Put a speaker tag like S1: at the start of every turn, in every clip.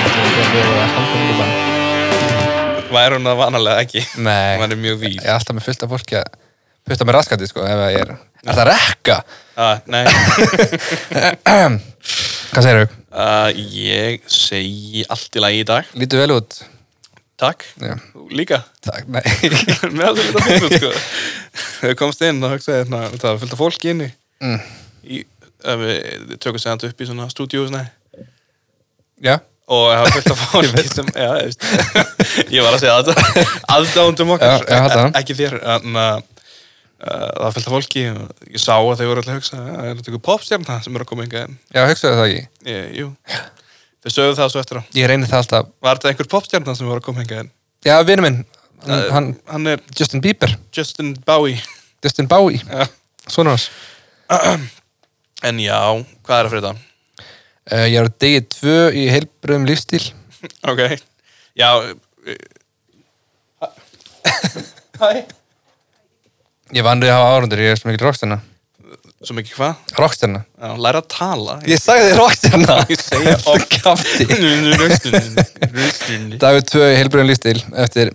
S1: og er haldið út í bann.
S2: Væri hún það vanalega ekki.
S1: Nei,
S2: Hún er mjög víl.
S1: ég er alltaf með fullt af fólki að putta með raskandi, sko, ef ég er... Er það rekka?
S2: Ah, nei,
S1: Hvað segir þau?
S2: uh, ég segi allt í lagi í dag.
S1: Lítu vel út.
S2: Takk.
S1: Já.
S2: Þú Líka.
S1: Takk, nei.
S2: Með allir þetta fólk, út, sko. Þegar ég komst inn, þá hugsaði ég, hérna, það var fullt af fólki inni.
S1: Mm.
S2: Í, ef við tökum segant upp í svona stúdíu, svona.
S1: Já,
S2: Og það var fullt af fólki sem, já, ég veist. Ég var að segja aðdá- aðdáendum
S1: Já,
S2: okkar.
S1: já, aðdáendum.
S2: Ek- Ekki þér, en uh, það var fullt af fólki. og Ég sá að þau voru alltaf að hugsa, "Já, er þetta ykkur popstjarna sem eru að koma yngan?
S1: já, hugsaðu það ekki.
S2: Ég, jú. Þau sögðu það svo eftir á.
S1: Ég reynir það alltaf.
S2: Var þetta einhver popstjarnan sem voru að koma hingað inn?
S1: Já, vinur minn, hann,
S2: Eh,
S1: hann
S2: hann er
S1: Justin Bieber,
S2: Justin Bowie.
S1: Justin Bowie,
S2: Ja.
S1: svona hans.
S2: En já, hvað er að fyrir það?
S1: Uh, ég er á degi tvö í heilbröðum lífstíl.
S2: Ok. Já. eh, Hæ.
S1: Ég vann við að hafa árundur, ég er svo mikil rockstjarna.
S2: Svo mikið hvað?
S1: Rockstjarna.
S2: Já, læra að tala.
S1: Ég sagði þér rockstjarna.
S2: Ég segja
S1: oft. Kafti.
S2: Rustunni.
S1: Dagur tvö í heilbröðum lífstíl eftir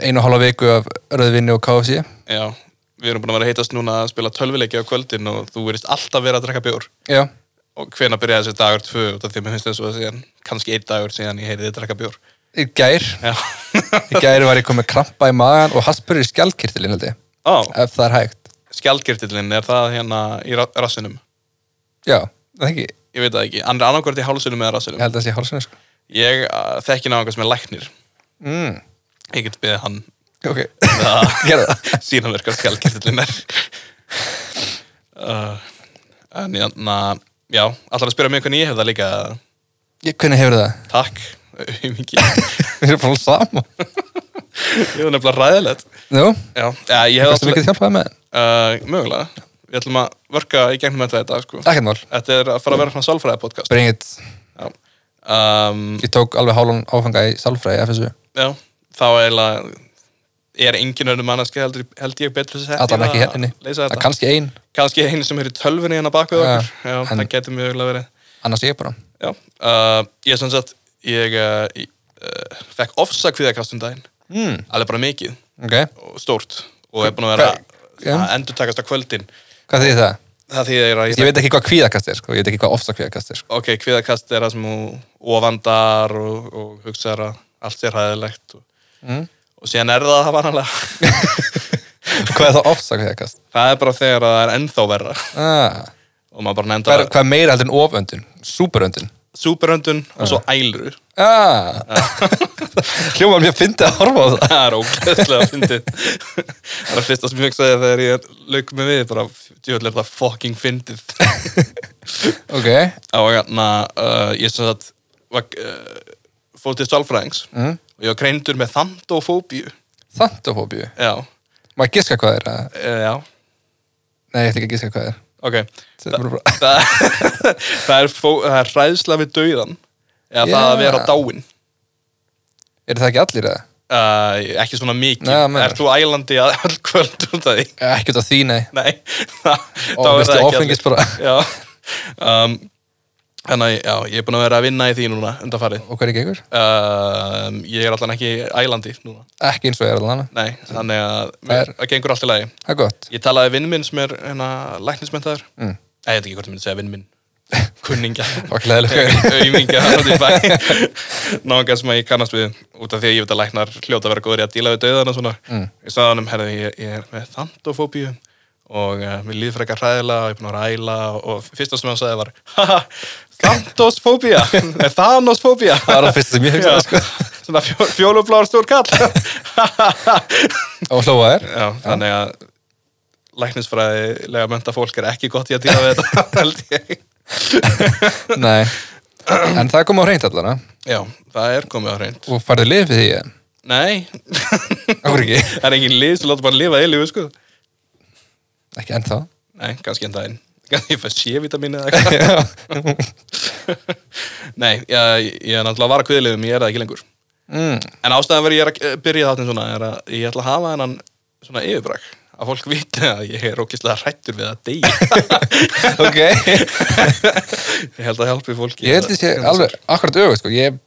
S1: einu og hálfa viku af röðvinni og KFC.
S2: Já, við erum búin að vera að heitast núna að spila tölvileiki á kvöldin og þú verist alltaf vera að drekka bjór.
S1: Já,
S2: Og hvena byrjaði þessi dagur tvö út af því að mér finnst þessu að segja kannski einn dagur síðan ég heyriði að drekka bjór.
S1: í gær.
S2: Já.
S1: Í gær var ég komið krampa í magan og haspurur í skjaldkirtilin held ég.
S2: Ó,
S1: Ef það er hægt.
S2: skjaldkirtillinn, er það hérna í ra- rassinum?
S1: Já, það er ekki.
S2: Ég veit það ekki, hann er annarkvært í hálsinum
S1: Ég
S2: eða rassinum.
S1: held að það sé hálsuna sko.
S2: Ég uh, þekki náðan sem er læknir.
S1: Mm.
S2: Ég get beðið hann
S1: Ok,
S2: að
S1: gerðu það.
S2: sína mér hvað skjaldkirtillinn er. uh, en hérna, já, allar að spyrja mig hvernig ég hef það líka.
S1: Ég, hvernig hefur það?
S2: Takk, mikið.
S1: Við erum bara saman.
S2: Ég var nefnilega ræðilegt.
S1: Nú,
S2: Já, já, ég hef
S1: hversu
S2: alltaf,
S1: mikið hjálpaði með?
S2: uh, mögulega, við ætlum að verka í gegnum þetta þetta, sko.
S1: Ekkert mál.
S2: Þetta er að fara að vera svona sálfræði podcast.
S1: Bring it.
S2: Um,
S1: Ég tók alveg hálun áfanga í salfræði FSU.
S2: Já, þá eiginlega er engin önnum manneski held, held ég betur sett í
S1: Allan
S2: það
S1: ekki
S2: að
S1: henni.
S2: leysa
S1: Það
S2: þetta.
S1: kannski ein,
S2: Kannski einu sem er í tölvunni hérna bak við
S1: Já,
S2: okkur. Já,
S1: en-
S2: það getur mjög ögulega verið.
S1: annars ég bara.
S2: Já, uh, ég sem sagt, ég uh, í- uh, fekk ofsak við það kastum daginn.
S1: Mm.
S2: Alveg bara mikið
S1: Ok,
S2: og stórt og er búin að vera
S1: Já.
S2: að endur takast á kvöldin.
S1: hvað þýðir það?
S2: Það þýðir að ég,
S1: Ég veit ekki hvað kvíðakast er, sko. Ég veit ekki hvað ofsa kvíðakast er, sko.
S2: ok, kviðakast er það sem þú ofandar og, og hugsaðar að allt er hæðilegt og,
S1: Mm.
S2: og síðan er það það vanalega.
S1: Hvað er það ofsa kvíðakast?
S2: Það er bara þegar það er ennþá verra
S1: Ah.
S2: og maður bara
S1: Hvað,
S2: nefndar
S1: er, hvað er meira heldur en oföndun? Súperöndun?
S2: superöndun og svo ælu
S1: Ah. Hljóma mér fyndi að horfa á það.
S2: það er ógæðslega fyndið það er að fyrsta sem ég hugsaði þegar ég lauk með við bara, djúvel er það fucking fyndið
S1: Ok.
S2: og hérna, uh, ég sem sagt var, uh, fór til sálfræðings
S1: Mm.
S2: og ég var greindur með þandofóbíu
S1: Þantofóbíu.
S2: já,
S1: Má ég giska hvað er? eða?
S2: uh, já,
S1: Nei, ég ætti ekki að giska hvað er.
S2: ok
S1: Það er bara...
S2: það, það, er fó, það er hræðsla við dauðan eða það að
S1: Já.
S2: vera dáin
S1: Er það ekki allir eða?
S2: uh, ekki svona mikið,
S1: Nei, það meinar.
S2: ert þú ælandi að öll kvöld út af því
S1: Eh, Ekki út af því, nei.
S2: Nei, það,
S1: Og
S2: er
S1: viltu
S2: það ekki
S1: áfengis
S2: allir.
S1: bara?
S2: Já um, Þannig að já, ég er búin að vera að vinna í því núna undanfarið
S1: Og hvað er gegur?
S2: um, Ég er allan ekki ælandi núna
S1: Ekki eins og ég er allan.
S2: Nei, þannig að
S1: Það
S2: mér,
S1: er-
S2: það gengur allt í lagi
S1: Það er gott.
S2: Ég talaði við vinn minn sem er hérna, læknismentaður
S1: Mm.
S2: Nei, ég veit ekki hvort ég myndi segja vinn minn Kunningja
S1: Fuck, leiðileg gaur.
S2: Auðmingja hann út í bæ Náðan sem að ég kannast við út af því að ég veit að læknar hljóta að vera góður í að díla við dauðan og svona
S1: Mm.
S2: Ég sagði hann um, herði, ég, ég er með þandofóbíu og uh, mér líður frekar hræðilega og ég er búin að ræla og fyrsta sem hann sagði var Haha, þandosfóbía Nei, Thanosfóbía
S1: Það var það fyrsta sem ég
S2: Já,
S1: hugsaði, sko.
S2: Svona fjó, fjólubláður stór kall
S1: Og hlóa þér.
S2: Já, þannig að læknisfræðilega mönda fólk er ekki gott í að dýra við þetta, held ég.
S1: Nei. En það kom á hreint allana.
S2: Já, það er komið á hreint.
S1: Og farðu lið fyrir því, eða?
S2: Nei,
S1: Akkur ekki.
S2: það er engin lið sem láta bara lifa eilífu, sko.
S1: Ekki ennþá.
S2: Nei, kannski en daginn. Kannski ég fæ C-vitamín eða eitthvað. Nei, ég, ég er náttúrulega að vara kviðliðum, ég er það ekki lengur.
S1: mm.
S2: En ástæðan verið ég er að eh, byrja þáttin svona er að ég ætla að hafa hennan svona yfirbrak. Að fólk viti að ég er ókislega hrættur við að deyja.
S1: Ok.
S2: ég held að hjálpi fólki.
S1: Ég held að sé alveg akkurat auðvitað, sko. Ég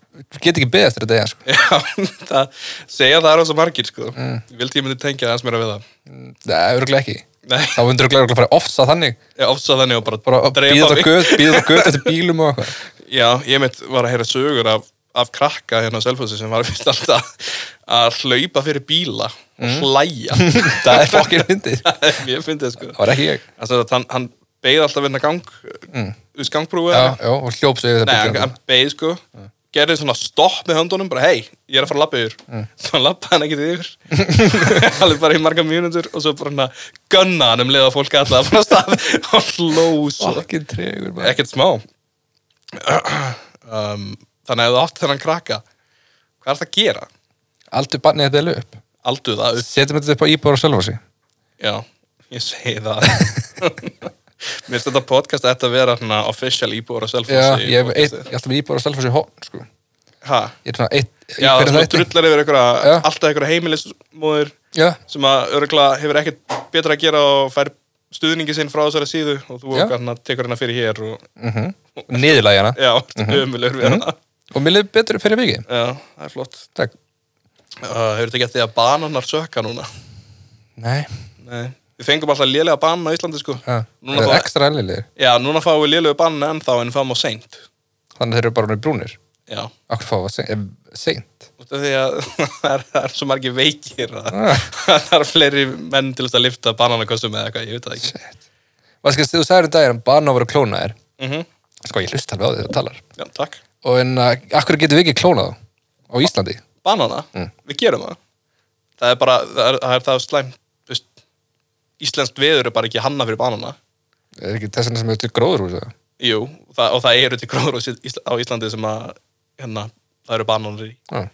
S1: get ekki beðið eftir að deyja sko.
S2: Já, það segja það er á svo margir sko.
S1: Mm.
S2: Ég vildi ég myndi tengja það aðeins meira við það.
S1: Nei, örgulega ekki
S2: Nei,
S1: þá myndur örgulega að fara ofsa þannig
S2: ég ofsa þannig og bara,
S1: bara
S2: dreifa
S1: býða
S2: mig.
S1: þetta göð, býða þetta göð eftir bílum og eitthvað
S2: Já, ég mitt var að heyra sögur af, af krakka hérna á Selfossi sem var fyrst alltaf að hlaupa fyrir bíla
S1: Mm.
S2: og hlæja.
S1: það er fokkir myndið
S2: það er mjög fyndið sko.
S1: það var ekki ég
S2: Það sem sagt, Hann, hann beigð alltaf vinna gang, mm. gangbrúi
S1: já, Mm.
S2: eða
S1: já, og hljóps yfir
S2: Nei, hann,
S1: það
S2: hann beigð sko gerði svona stopp með höndunum bara hei, ég er að fara að lappa yfir
S1: Mm.
S2: svo hann lappaði hann ekkert yfir alveg bara í marga mínútur og svo bara hann að gunna hann um leið að fólk alltaf að fara að stað og hló svo
S1: fokkir tregur maður.
S2: ekkert smá um, þannig að ef þú átt þennan krakka hvað er það að gera?
S1: aldur barnið þetta er upp
S2: Aldu það upp
S1: setjum þetta upp á íbúar og sjálfhósi
S2: já, ég segi það mér finnst þetta podcast að þetta vera svona official íbúar og
S1: já,
S2: selfie
S1: ég er eitt- ég er alltaf með íbúar og sjálfhósi hótt sko.
S2: ha?
S1: ég er svona eitt í
S2: já,
S1: hverjum
S2: þú
S1: þætti.
S2: drullar yfir einhverja,
S1: Já.
S2: alltaf einhverja heimilismóður
S1: já,
S2: sem að örgla hefur ekkert betra að gera og fær stuðningi sinn frá þessari síðu og þú
S1: Já. Mm-hmm.
S2: okkar hann tekur hana fyrir hér og
S1: niðurlægi hana
S2: já, ömulegur við hana
S1: og mér liður betur fyrir vikið
S2: já, það er flott
S1: takk
S2: uh, hefur þetta gett því að bananar sökka núna
S1: nei
S2: Nei. við fengum alltaf lélega banan á Íslandi sko
S1: já.
S2: núna,
S1: það er
S2: fá,
S1: ekstra ellilegir
S2: já, núna fáum við lélegu banan ennþá en fáum á seint
S1: þannig að þeir eru bara með brúnir
S2: já,
S1: okkur fá að seint seint
S2: út af því að það er, það er svo margir veikir að
S1: Ah.
S2: það er fleiri menn til þess að lifta bananakössum eða eitthvað, ég veit það ekki
S1: Vaskar, þú sagðir um daginn að barna voru klónaðir
S2: mm
S1: sko ég hlusta alveg á því þegar þú talar
S2: já, takk
S1: og en að, akkur getum við ekki klónað þá? á Íslandi
S2: banana, við gerum það það er bara, það er það, er það slæmt þú veist, íslenskt veður er bara ekki hanna fyrir banana
S1: er ekki þess vegna sem við til gróður úr það
S2: Jú, og það, og það eru til gróður á Ísl- Ísl- á Íslandi sem að hérna, það eru bananir í
S1: já.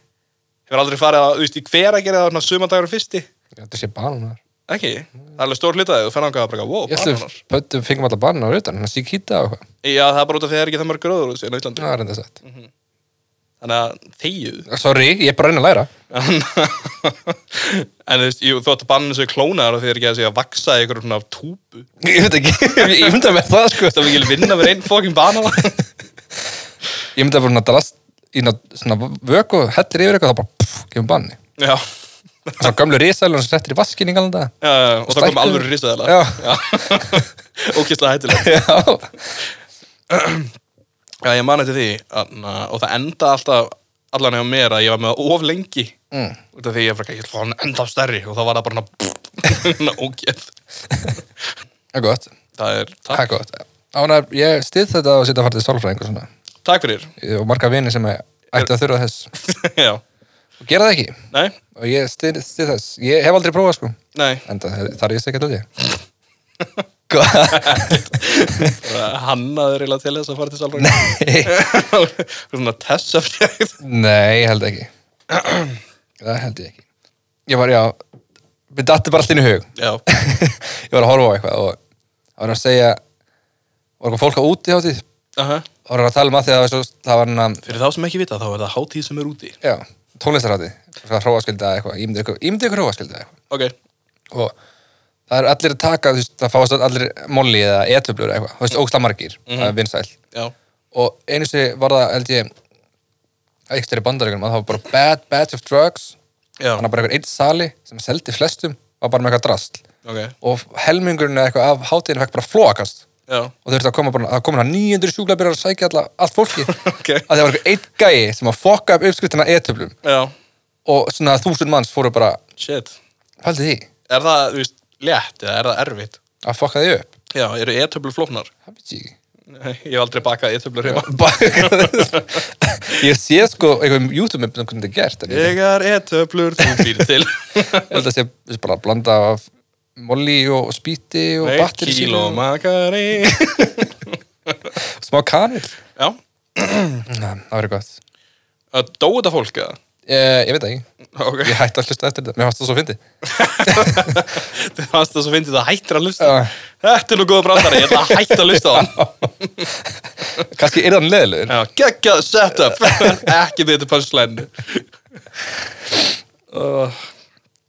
S2: hefur aldrei farið að, þú veist, í hver að gera það sumadagur fyrsti,
S1: Ég held að sé bananar
S2: ekki það er alveg stór hlutaði, þú fennar hann bara, wow,
S1: ég held
S2: bananar
S1: að pöttum fengum alla bananar utan hann sík hýta og eitthvað
S2: já, það er bara út af því að það er ekki það mörg gróður hérna á Íslandi
S1: það er enda sett
S2: þannig að þegjuð
S1: Mm-hmm. sorry ég er bara að reyna að læra
S2: en þú veist, jú, þú átt að banna þessu klónaðar og því er ekki að segja að vaksa í einhverjum svona túpu
S1: ég veit ekki ég myndi að með það sko
S2: Það var ekki vinna með einn fokkin banana
S1: ég myndi að bara svona drast í ná- svona vöku hellir yfir eitthvað þá bara pff, gefum banni
S2: Já,
S1: svona gamlu risælun sem settir í vaskin í galanda
S2: já, já, og það
S1: Stækkuð.
S2: kom alveg risaðala
S1: Já.
S2: Ókistlega hættilegt
S1: já
S2: Já, ég mani til því anna, og það enda alltaf allan hjá mér að ég var með það of lengi mm. út af því ég frekar, ég ætla að fá hann enda stærri og þá var það bara hann ógeð
S1: það er gott
S2: Það er,
S1: það
S2: takk,
S1: er gott Ánar, ég stið þetta og setja að fara til sálfræðing og svona
S2: takk fyrir
S1: og marga vini sem ætti að þurfa þess
S2: Já,
S1: og gera það ekki
S2: nei,
S1: og ég stið, stið þess ég hef aldrei prófað sko
S2: nei
S1: en það þarf ég sikkert að því Hvað?
S2: Hannaður eiginlega til þess að fara til salvar Nei Svona tessafrið
S1: Nei, ég held ekki Það held ég ekki Ég var, já, við datti bara allt inn í hug
S2: Já,
S1: Ég var að horfa á eitthvað og það var að segja var eitthvað fólk á úti hátíð
S2: aha
S1: og var að tala um að því að það var, svo, það var hann
S2: Fyrir þá sem ekki vita þá er það hátíð sem er úti
S1: já, tónlistarhátti hróaskilda eitthvað, ímyndi ykkur, ímyndi ykkur hróaskilda eitthvað
S2: Ok,
S1: og það er allir að taka þú veist, það fáast allir molli eða etöflur eða eitthvað, þú veist, ógsta margir
S2: Mhm.
S1: það er vinsæl
S2: já
S1: og einu sinni var það, held ég eitthvað í bandaríkunum, að það var bara bad batch of drugs
S2: Já,
S1: þannig að bara einhver einn sali sem seldi flestum var bara með eitthvað drasl
S2: ok,
S1: og helmingurinn eða eitthvað af hátíðinu fekk bara flokast
S2: já
S1: og þurfti að koma bara, það komin hann 900 sjúklabir að sækja alla, allt fólki
S2: Ok.
S1: að það var eitthvað einn gæi sem að fokka upp uppskriftina etöflum
S2: Já,
S1: og svona þúsund manns fóru bara,
S2: shit
S1: pældi því
S2: Er það, þú veist, létt eða er það erfitt?
S1: að fokka því upp,
S2: Já, eru e-töflur flóknar?
S1: það veit ég ekki
S2: Nei, Ég hef aldrei bakað e-töflur heima
S1: ég sé sko einhverjum YouTube-myndum um hvernig þetta er gert en ég
S2: Ég er e-töflur, þú býr til
S1: held að sé bara að blanda af molli og spýti og
S2: Eitt
S1: batteri
S2: kíló makari
S1: og smá kanil
S2: Já,
S1: Na, það verður gott Eh,
S2: að dóu þetta fólk eða?
S1: ég, ég veit það ekki,
S2: Ok,
S1: ég hætti að hlusta eftir þetta mér fannst það svo fyndi
S2: það fannst það svo fyndið að hættir að lusta
S1: Já.
S2: Þetta er nú góða brandari, ég ætla að hætta að lusta á hann
S1: kannski er þann leðilegur
S2: Já, geggjað setup Ekki þetta punchline uh,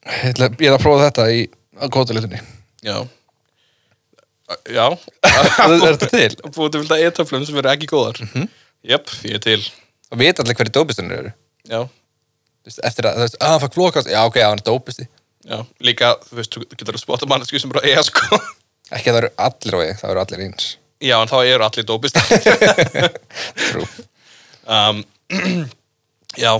S1: ég ætla ég ætla að prófa þetta í kótalitunni
S2: Já Já
S1: er þetta til?
S2: Mhm. Búið til fylgta e-töflum sem eru ekki góðar Jöpp, ég er til
S1: og og vita allir hverju dópistunir eru
S2: já,
S1: Þú veist, eftir að, þú veist, "Ah, að hann fæk flókast já, ok, já, hann er dópisti
S2: já, líka, þú veist, þú getur að spotta mannesku sem bara er sko
S1: ekki að það eru allir á ég, það eru allir eins
S2: Já, en þá eru allir dópist
S1: trú,
S2: um, Já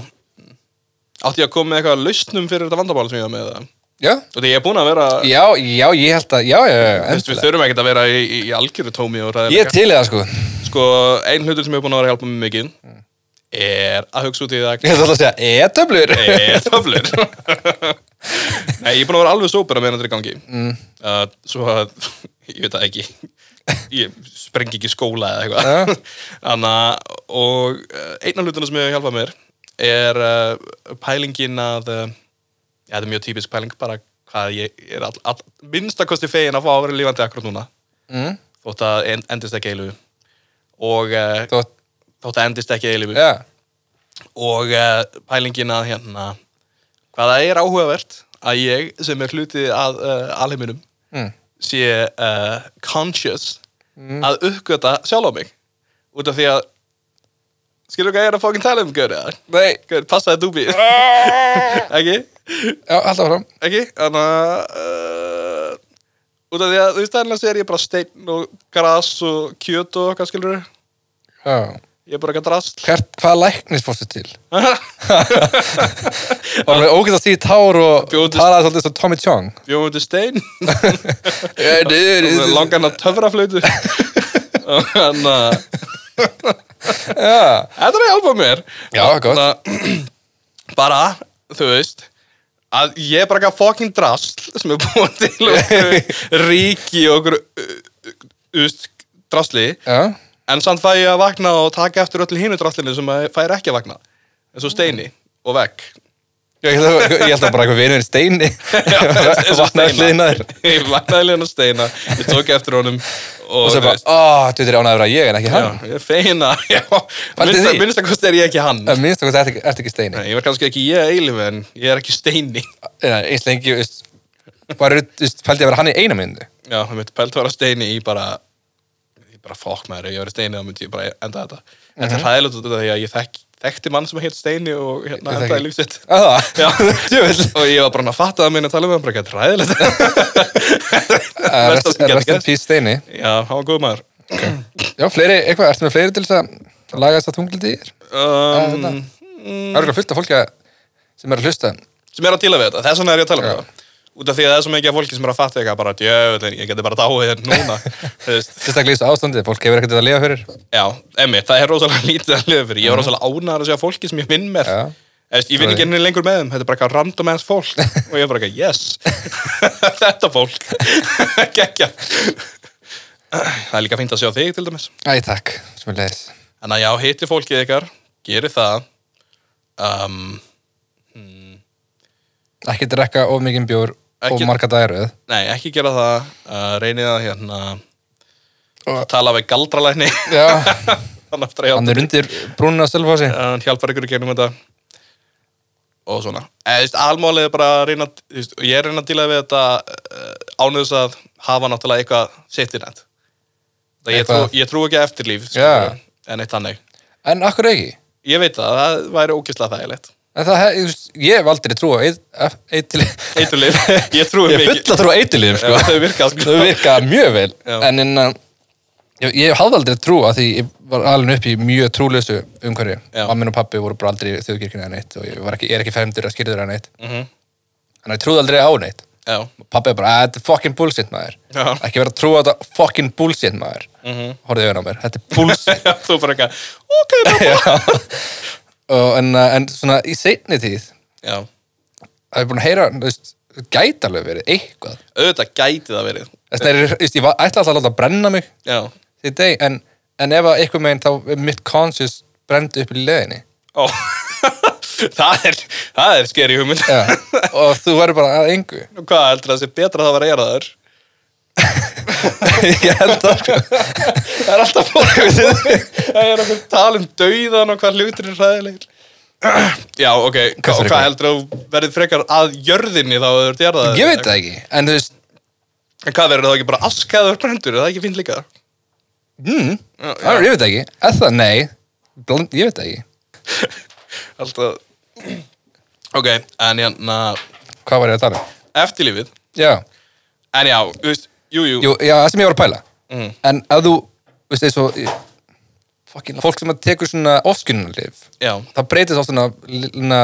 S2: Átti ég að koma með eitthvað lausnum fyrir þetta vandabál sem ég var með það
S1: já,
S2: Og því ég er búin að vera
S1: já, já, ég held að já, já, já, já,
S2: Vist, Við
S1: endilega.
S2: þurfum ekkert að vera í, í, í algjöru tómi og ræðilega
S1: ég Mm. er til í það, sko
S2: Sko, ein hlutur sem ég er búin að vera að hjálpa mér mikið Er að hugsa út í það
S1: ég ætla alltaf að segja, e-töflur
S2: Er töflur Eh, Nei, ég er búin að vera alveg sópur að meina þetta er í gangi mm. Svo að, ég veit það ekki Ég sprengi ekki skóla eða eitthvað Anna, Og uh, eina hlutina sem ég hef hjálpað mér Er uh, pælingin að uh, Já, þetta er mjög típisk pæling Bara hvað ég er all, all, Minnstakosti fegin að fá að vera lífandi akkur núna
S1: Mm.
S2: Þótt að en, endist ekki eilu Og uh,
S1: Þó-
S2: þótt að endist ekki eilu
S1: já,
S2: og uh, pælingin að hérna hvaða er áhugavert að ég sem er hlutið að uh, alheiminum
S1: Mm.
S2: sé uh, conscious að uppgöta sjálf á mig út af því að skilur þú hvað ég er að fókin tala um görið það?
S1: nei,
S2: Görið, passaði dúbi ekki?
S1: já, alltaf fram
S2: ekki? Þannig að uh, út af því að þú veist að annars er ég bara steinn og gras og kjöt og hvað skilur
S1: já,
S2: ég er bara eitthvað drast
S1: hvert, hvað læknis fórstu til? Var með ógætt að því tár og
S2: Bjóðist-
S1: talaði svolítið svo Tommy Chong
S2: bjóðum til stein
S1: Lang...
S2: langan að töfraflöytu þannig að
S1: Já,
S2: uh, þetta er að hjálpa mér
S1: Já, gott.
S2: Þannig að- bara, þú veist að ég er bara eitthvað fucking drasl sem er búin til okkur ríki og okkur uh, uh, uh, drasli
S1: já,
S2: en samt fæ ég að vakna og taka eftir öllu hinu draslinu sem að fær ekki að vakna eins og
S1: Mm.
S2: steini og vekk
S1: Já, ég held að- ég held að bara eitthvað vinurinn steini Vatnaði hliðina þér
S2: ég vaknaði hliðina á steina ég tók eftir honum
S1: Og
S2: og,
S1: svo
S2: þú
S1: bara,
S2: veist,
S1: ó, þú veitir ánægður að vera ég en ekki
S2: Já,
S1: hann
S2: ég er fegin að já,
S1: Pældi
S2: minnst,
S1: því?
S2: minnst að kosti er ég ekki hann
S1: En minnst þú veist, ert ekki steini
S2: Nei, ég var kannski ekki ég eilif en ég er ekki steini
S1: Nei, Eins lengi, þú veist Bara, þú veist, pældi ég að vera hann í eina myndu
S2: já, það myndi pælt að vera steini í bara ég bara fokk maður, ef ég verið steini þá myndi ég bara enda þetta þetta
S1: Mhm.
S2: er hræðilegt út af því að ég þekk, þekkti mann sem hétt steini og hérna
S1: Ég
S2: endaði
S1: þekki.
S2: líf sitt
S1: Það,
S2: Já.
S1: djúvill
S2: og ég var bara að fatta að minna að tala um hann bara eitthvað hræðilegt Versta
S1: Rest
S2: sem gæti
S1: in
S2: gerst.
S1: peace steini
S2: já, hann var góð maður
S1: Já, fleiri, eitthvað, ertu með fleiri til þess að laga þess að tungliti í þér?
S2: um,
S1: þetta. Það eru fullt af fólki að- sem er að hlusta
S2: sem er að díla við þetta, þess vegna er ég að tala um þetta út af því að það er svo mikið af fólki sem er að fatta eitthvað bara djöðin, ég geti bara dáið hérna núna Þú veist,
S1: Sérstaklega í þessu ástandi, fólk hefur ekkert að lifa fyrir
S2: já, emmi, það er rosalega lítið að lifa fyrir, ég var rosalega ánæður að sjá fólki sem ég vinn með
S1: Mhm. Já.
S2: Þú veist, ég vinn ekki einnig lengur með þeim, þetta er bara eitthvað random ass fólk og ég er bara eitthvað, yes þetta fólk, gekkja það er líka fínt að sjá þig til dæmis
S1: Æ, takk, sem er leiðis
S2: Þannig að já, hitti fólkið ykkar, geri það um,
S1: Ekki drekka of mikið bjór
S2: Ekki-
S1: og marga dagaröð
S2: nei, ekki gera það uh, reynið að hérna
S1: Og-
S2: tala við galdralækni
S1: Já,
S2: hann aftur að
S1: hann
S2: hjálpa
S1: er undir brúnuna að selva sig
S2: hann hjálpar ykkur í gegnum þetta og svona eða, þú veist, almálið er bara að reyna þú veist, og ég er að reyna að díla við þetta ánöðs að hafa náttúrulega eitthvað sitt í nætt ég, trú,
S1: Eitthvað.
S2: ég trú ekki að eftirlíf
S1: Já.
S2: skilurðu, en eitt þannig
S1: En akkur ekki
S2: ég veit það, það væri ógislega þægilegt
S1: En það, hef- þú veist, ég hef aldrei trú á eitilif
S2: eiturlif, ég trúi
S1: Ég hef
S2: mikið
S1: fulla trú á eitilif, sko
S2: Já, þau virka, sko.
S1: Þau virka mjög vel
S2: Já.
S1: En innan Ég, ég hafði aldrei trú að því ég var alveg upp í mjög trúlausu umhverju.
S2: Já.
S1: Mammin og pappi voru bara aldrei þjóðkirkina eða neitt og ég, var ekki, ég er ekki fermdur að skýrður eða neitt.
S2: Mhm.
S1: Þannig að ég trúði aldrei á neitt.
S2: já,
S1: Pappi er bara, "Æ, þetta er fucking bullshit maður.
S2: Já.
S1: Ekki vera að trúa á þetta fucking bullshit maður. Mm
S2: Mhm.
S1: -hmm. Horfðu auðvitað á mér, þetta er bullshit.
S2: þú bara eitthvað, ok, pappa
S1: og, en, uh, en svona í seinni tíð,
S2: já,
S1: það er búin að heyra, þú veist, gæti alveg verið eitthvað.
S2: auðvitað gæti það verið
S1: Þess vegna er, þú veist, ég var- ætla alltaf að láta að brenna mig
S2: já,
S1: því deg, en, en ef að eitthvað meginn þá er mitt conscious brendi upp í leðinni.
S2: ó það er, það er skeri hugmynd
S1: Já. og þú verður bara að engu.
S2: hvað heldur það sé betra að það var eiraður
S1: ég held það, sko.
S2: það er alltaf fólk að það er okkur tala um dauðan og hvað hlutur er hræðilegir já, ok,
S1: Hvað
S2: hvað,
S1: fyrir
S2: hvað
S1: ykkur?
S2: heldur þú verið frekar að jörðinni þá að þú ert jarðaður
S1: Ég veit það ekki, en þú veist,
S2: en hvað verður það ekki bara askaður brendur, er það ekki fínt líka
S1: mm,
S2: Já,
S1: hmm, já, ég veit það ekki. Eða það, nei, bland, ég veit það ekki.
S2: Alltaf Ok, en hérna
S1: Hvað var ég að tala um?
S2: Eftirlífið
S1: Já,
S2: En já, þú veist, jú, jú,
S1: Jú, já, það sem ég var að pæla
S2: Mm.
S1: En að þú, veist eins og fucking, Fólk sem að tekur svona ofskynunarlif
S2: Já,
S1: Það breytist oft svona, svona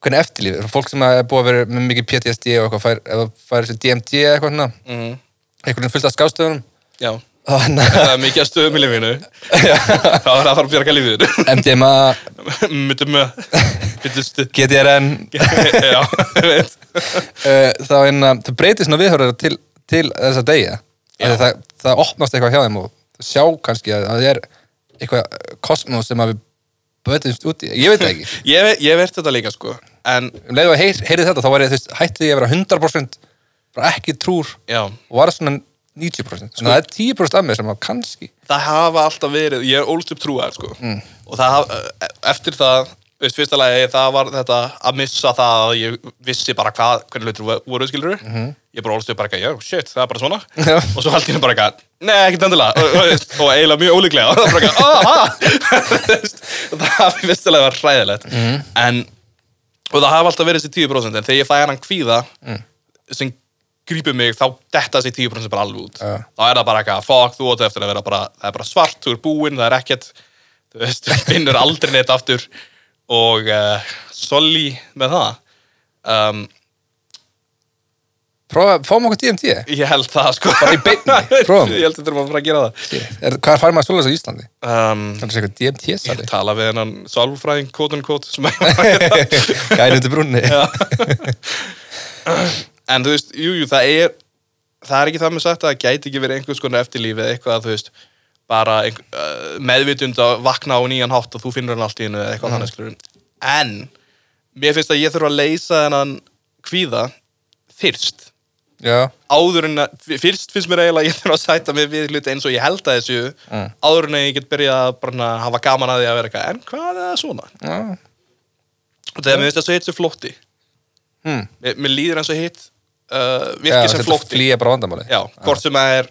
S1: Hvernig eftirlífið er. Fólk sem að er búið að vera með mikið PTSD og eitthvað fær, eða fær þessi DMT eða eitthvað svona
S2: mm,
S1: Einhvern veginn fullt af hérna, skástöðunum
S2: já
S1: Þannig að
S2: Það er mikið að stöðum í lífinu Þá er það að fara að bjarga lífinu
S1: MDMA,
S2: Myndum með Byttu stuð
S1: GTRN
S2: Já, ég veit
S1: uh, þá einna, það breytir svona viðhörður til, til þessa degja
S2: Já.
S1: það, það opnast eitthvað hjá þeim og þau sjá kannski að það er eitthvað eh, kosmos sem að við bötumst út í, ég veit það ekki
S2: Ég, ve- ég verð þetta líka, sko En,
S1: um leiðu að heyr, heyrið þetta þá var ég, þú veist, hætti ég að vera 100% bara ekki trúr
S2: já
S1: og var svona 90%
S2: Sko-
S1: þannig að það er 10% af mér sem að kannski
S2: það hafa alltaf verið, ég er ólst upp trúar sko. og það hafa, e, eftir það veist, fyrsta lagi, það var þetta að missa það að ég vissi bara hvað hvernig hlutur voru, skilur mm -hmm. ég bara ólst upp bara eitthvað, já, shit, það er bara svona
S1: Já.
S2: og svo haldi ég bara eitthvað, nei, ekkert endilega og, og, veist, og eiginlega mjög ólíklega og það bara eitthvað, ah, ah Þú veist, það fyrsta lagi var hræðilegt en, og það hafa alltaf verið þessi 10% en þegar ég fæ hann kvíða sem grípur mig, þá detta þessi 10% bara alveg út.
S1: Já.
S2: Þá er það bara eitthvað, fuck, þú átt eftir að vera bara, það er bara svart, þú er búinn, það er ekkert, þú veist, þú finnur aldrei neitt aftur og uh, soli með það. Um,
S1: prófa, fáum okkur DMT
S2: ég held það, sko.
S1: Bara í beinni, prófum.
S2: Ég held þetta er maður bara að gera það.
S1: er, hvað fær maður svolítið á Íslandi?
S2: Um,
S1: Það er eitthvað DMT
S2: ég
S1: sali
S2: tala við hennan sálfræðing, quote unquote, sem er
S1: gæri undir brunni
S2: Já. en þú veist, jú, jú, það er það er ekki það með sagt að það gæti ekki verið einhvers konar eftirlífi eða eitthvað að þú veist bara einhver, uh, meðvitund að vakna á nýjan hátt og þú finnur hann allt í hennu eða
S1: Mhm.
S2: eitthvað þannig skilur en mér finnst að ég þurfa að leysa þennan kvíða fyrst
S1: já,
S2: áður en að, fyrst finnst mér eiginlega að ég þurfa að sæta mig við hluti eins og ég held að þessu
S1: Mm.
S2: áður en að ég get byrjað að bara hafa gaman að því að vera eitthvað en hvað er það svona?
S1: já.
S2: og þegar mér finnst það svo hitt sem flótti
S1: Mm. Hmm.
S2: mér, mér líður eins og hitt uh,
S1: Já,
S2: virkið sem
S1: þetta
S2: flótti
S1: flýja bara vandamáli
S2: já, hvort sem það er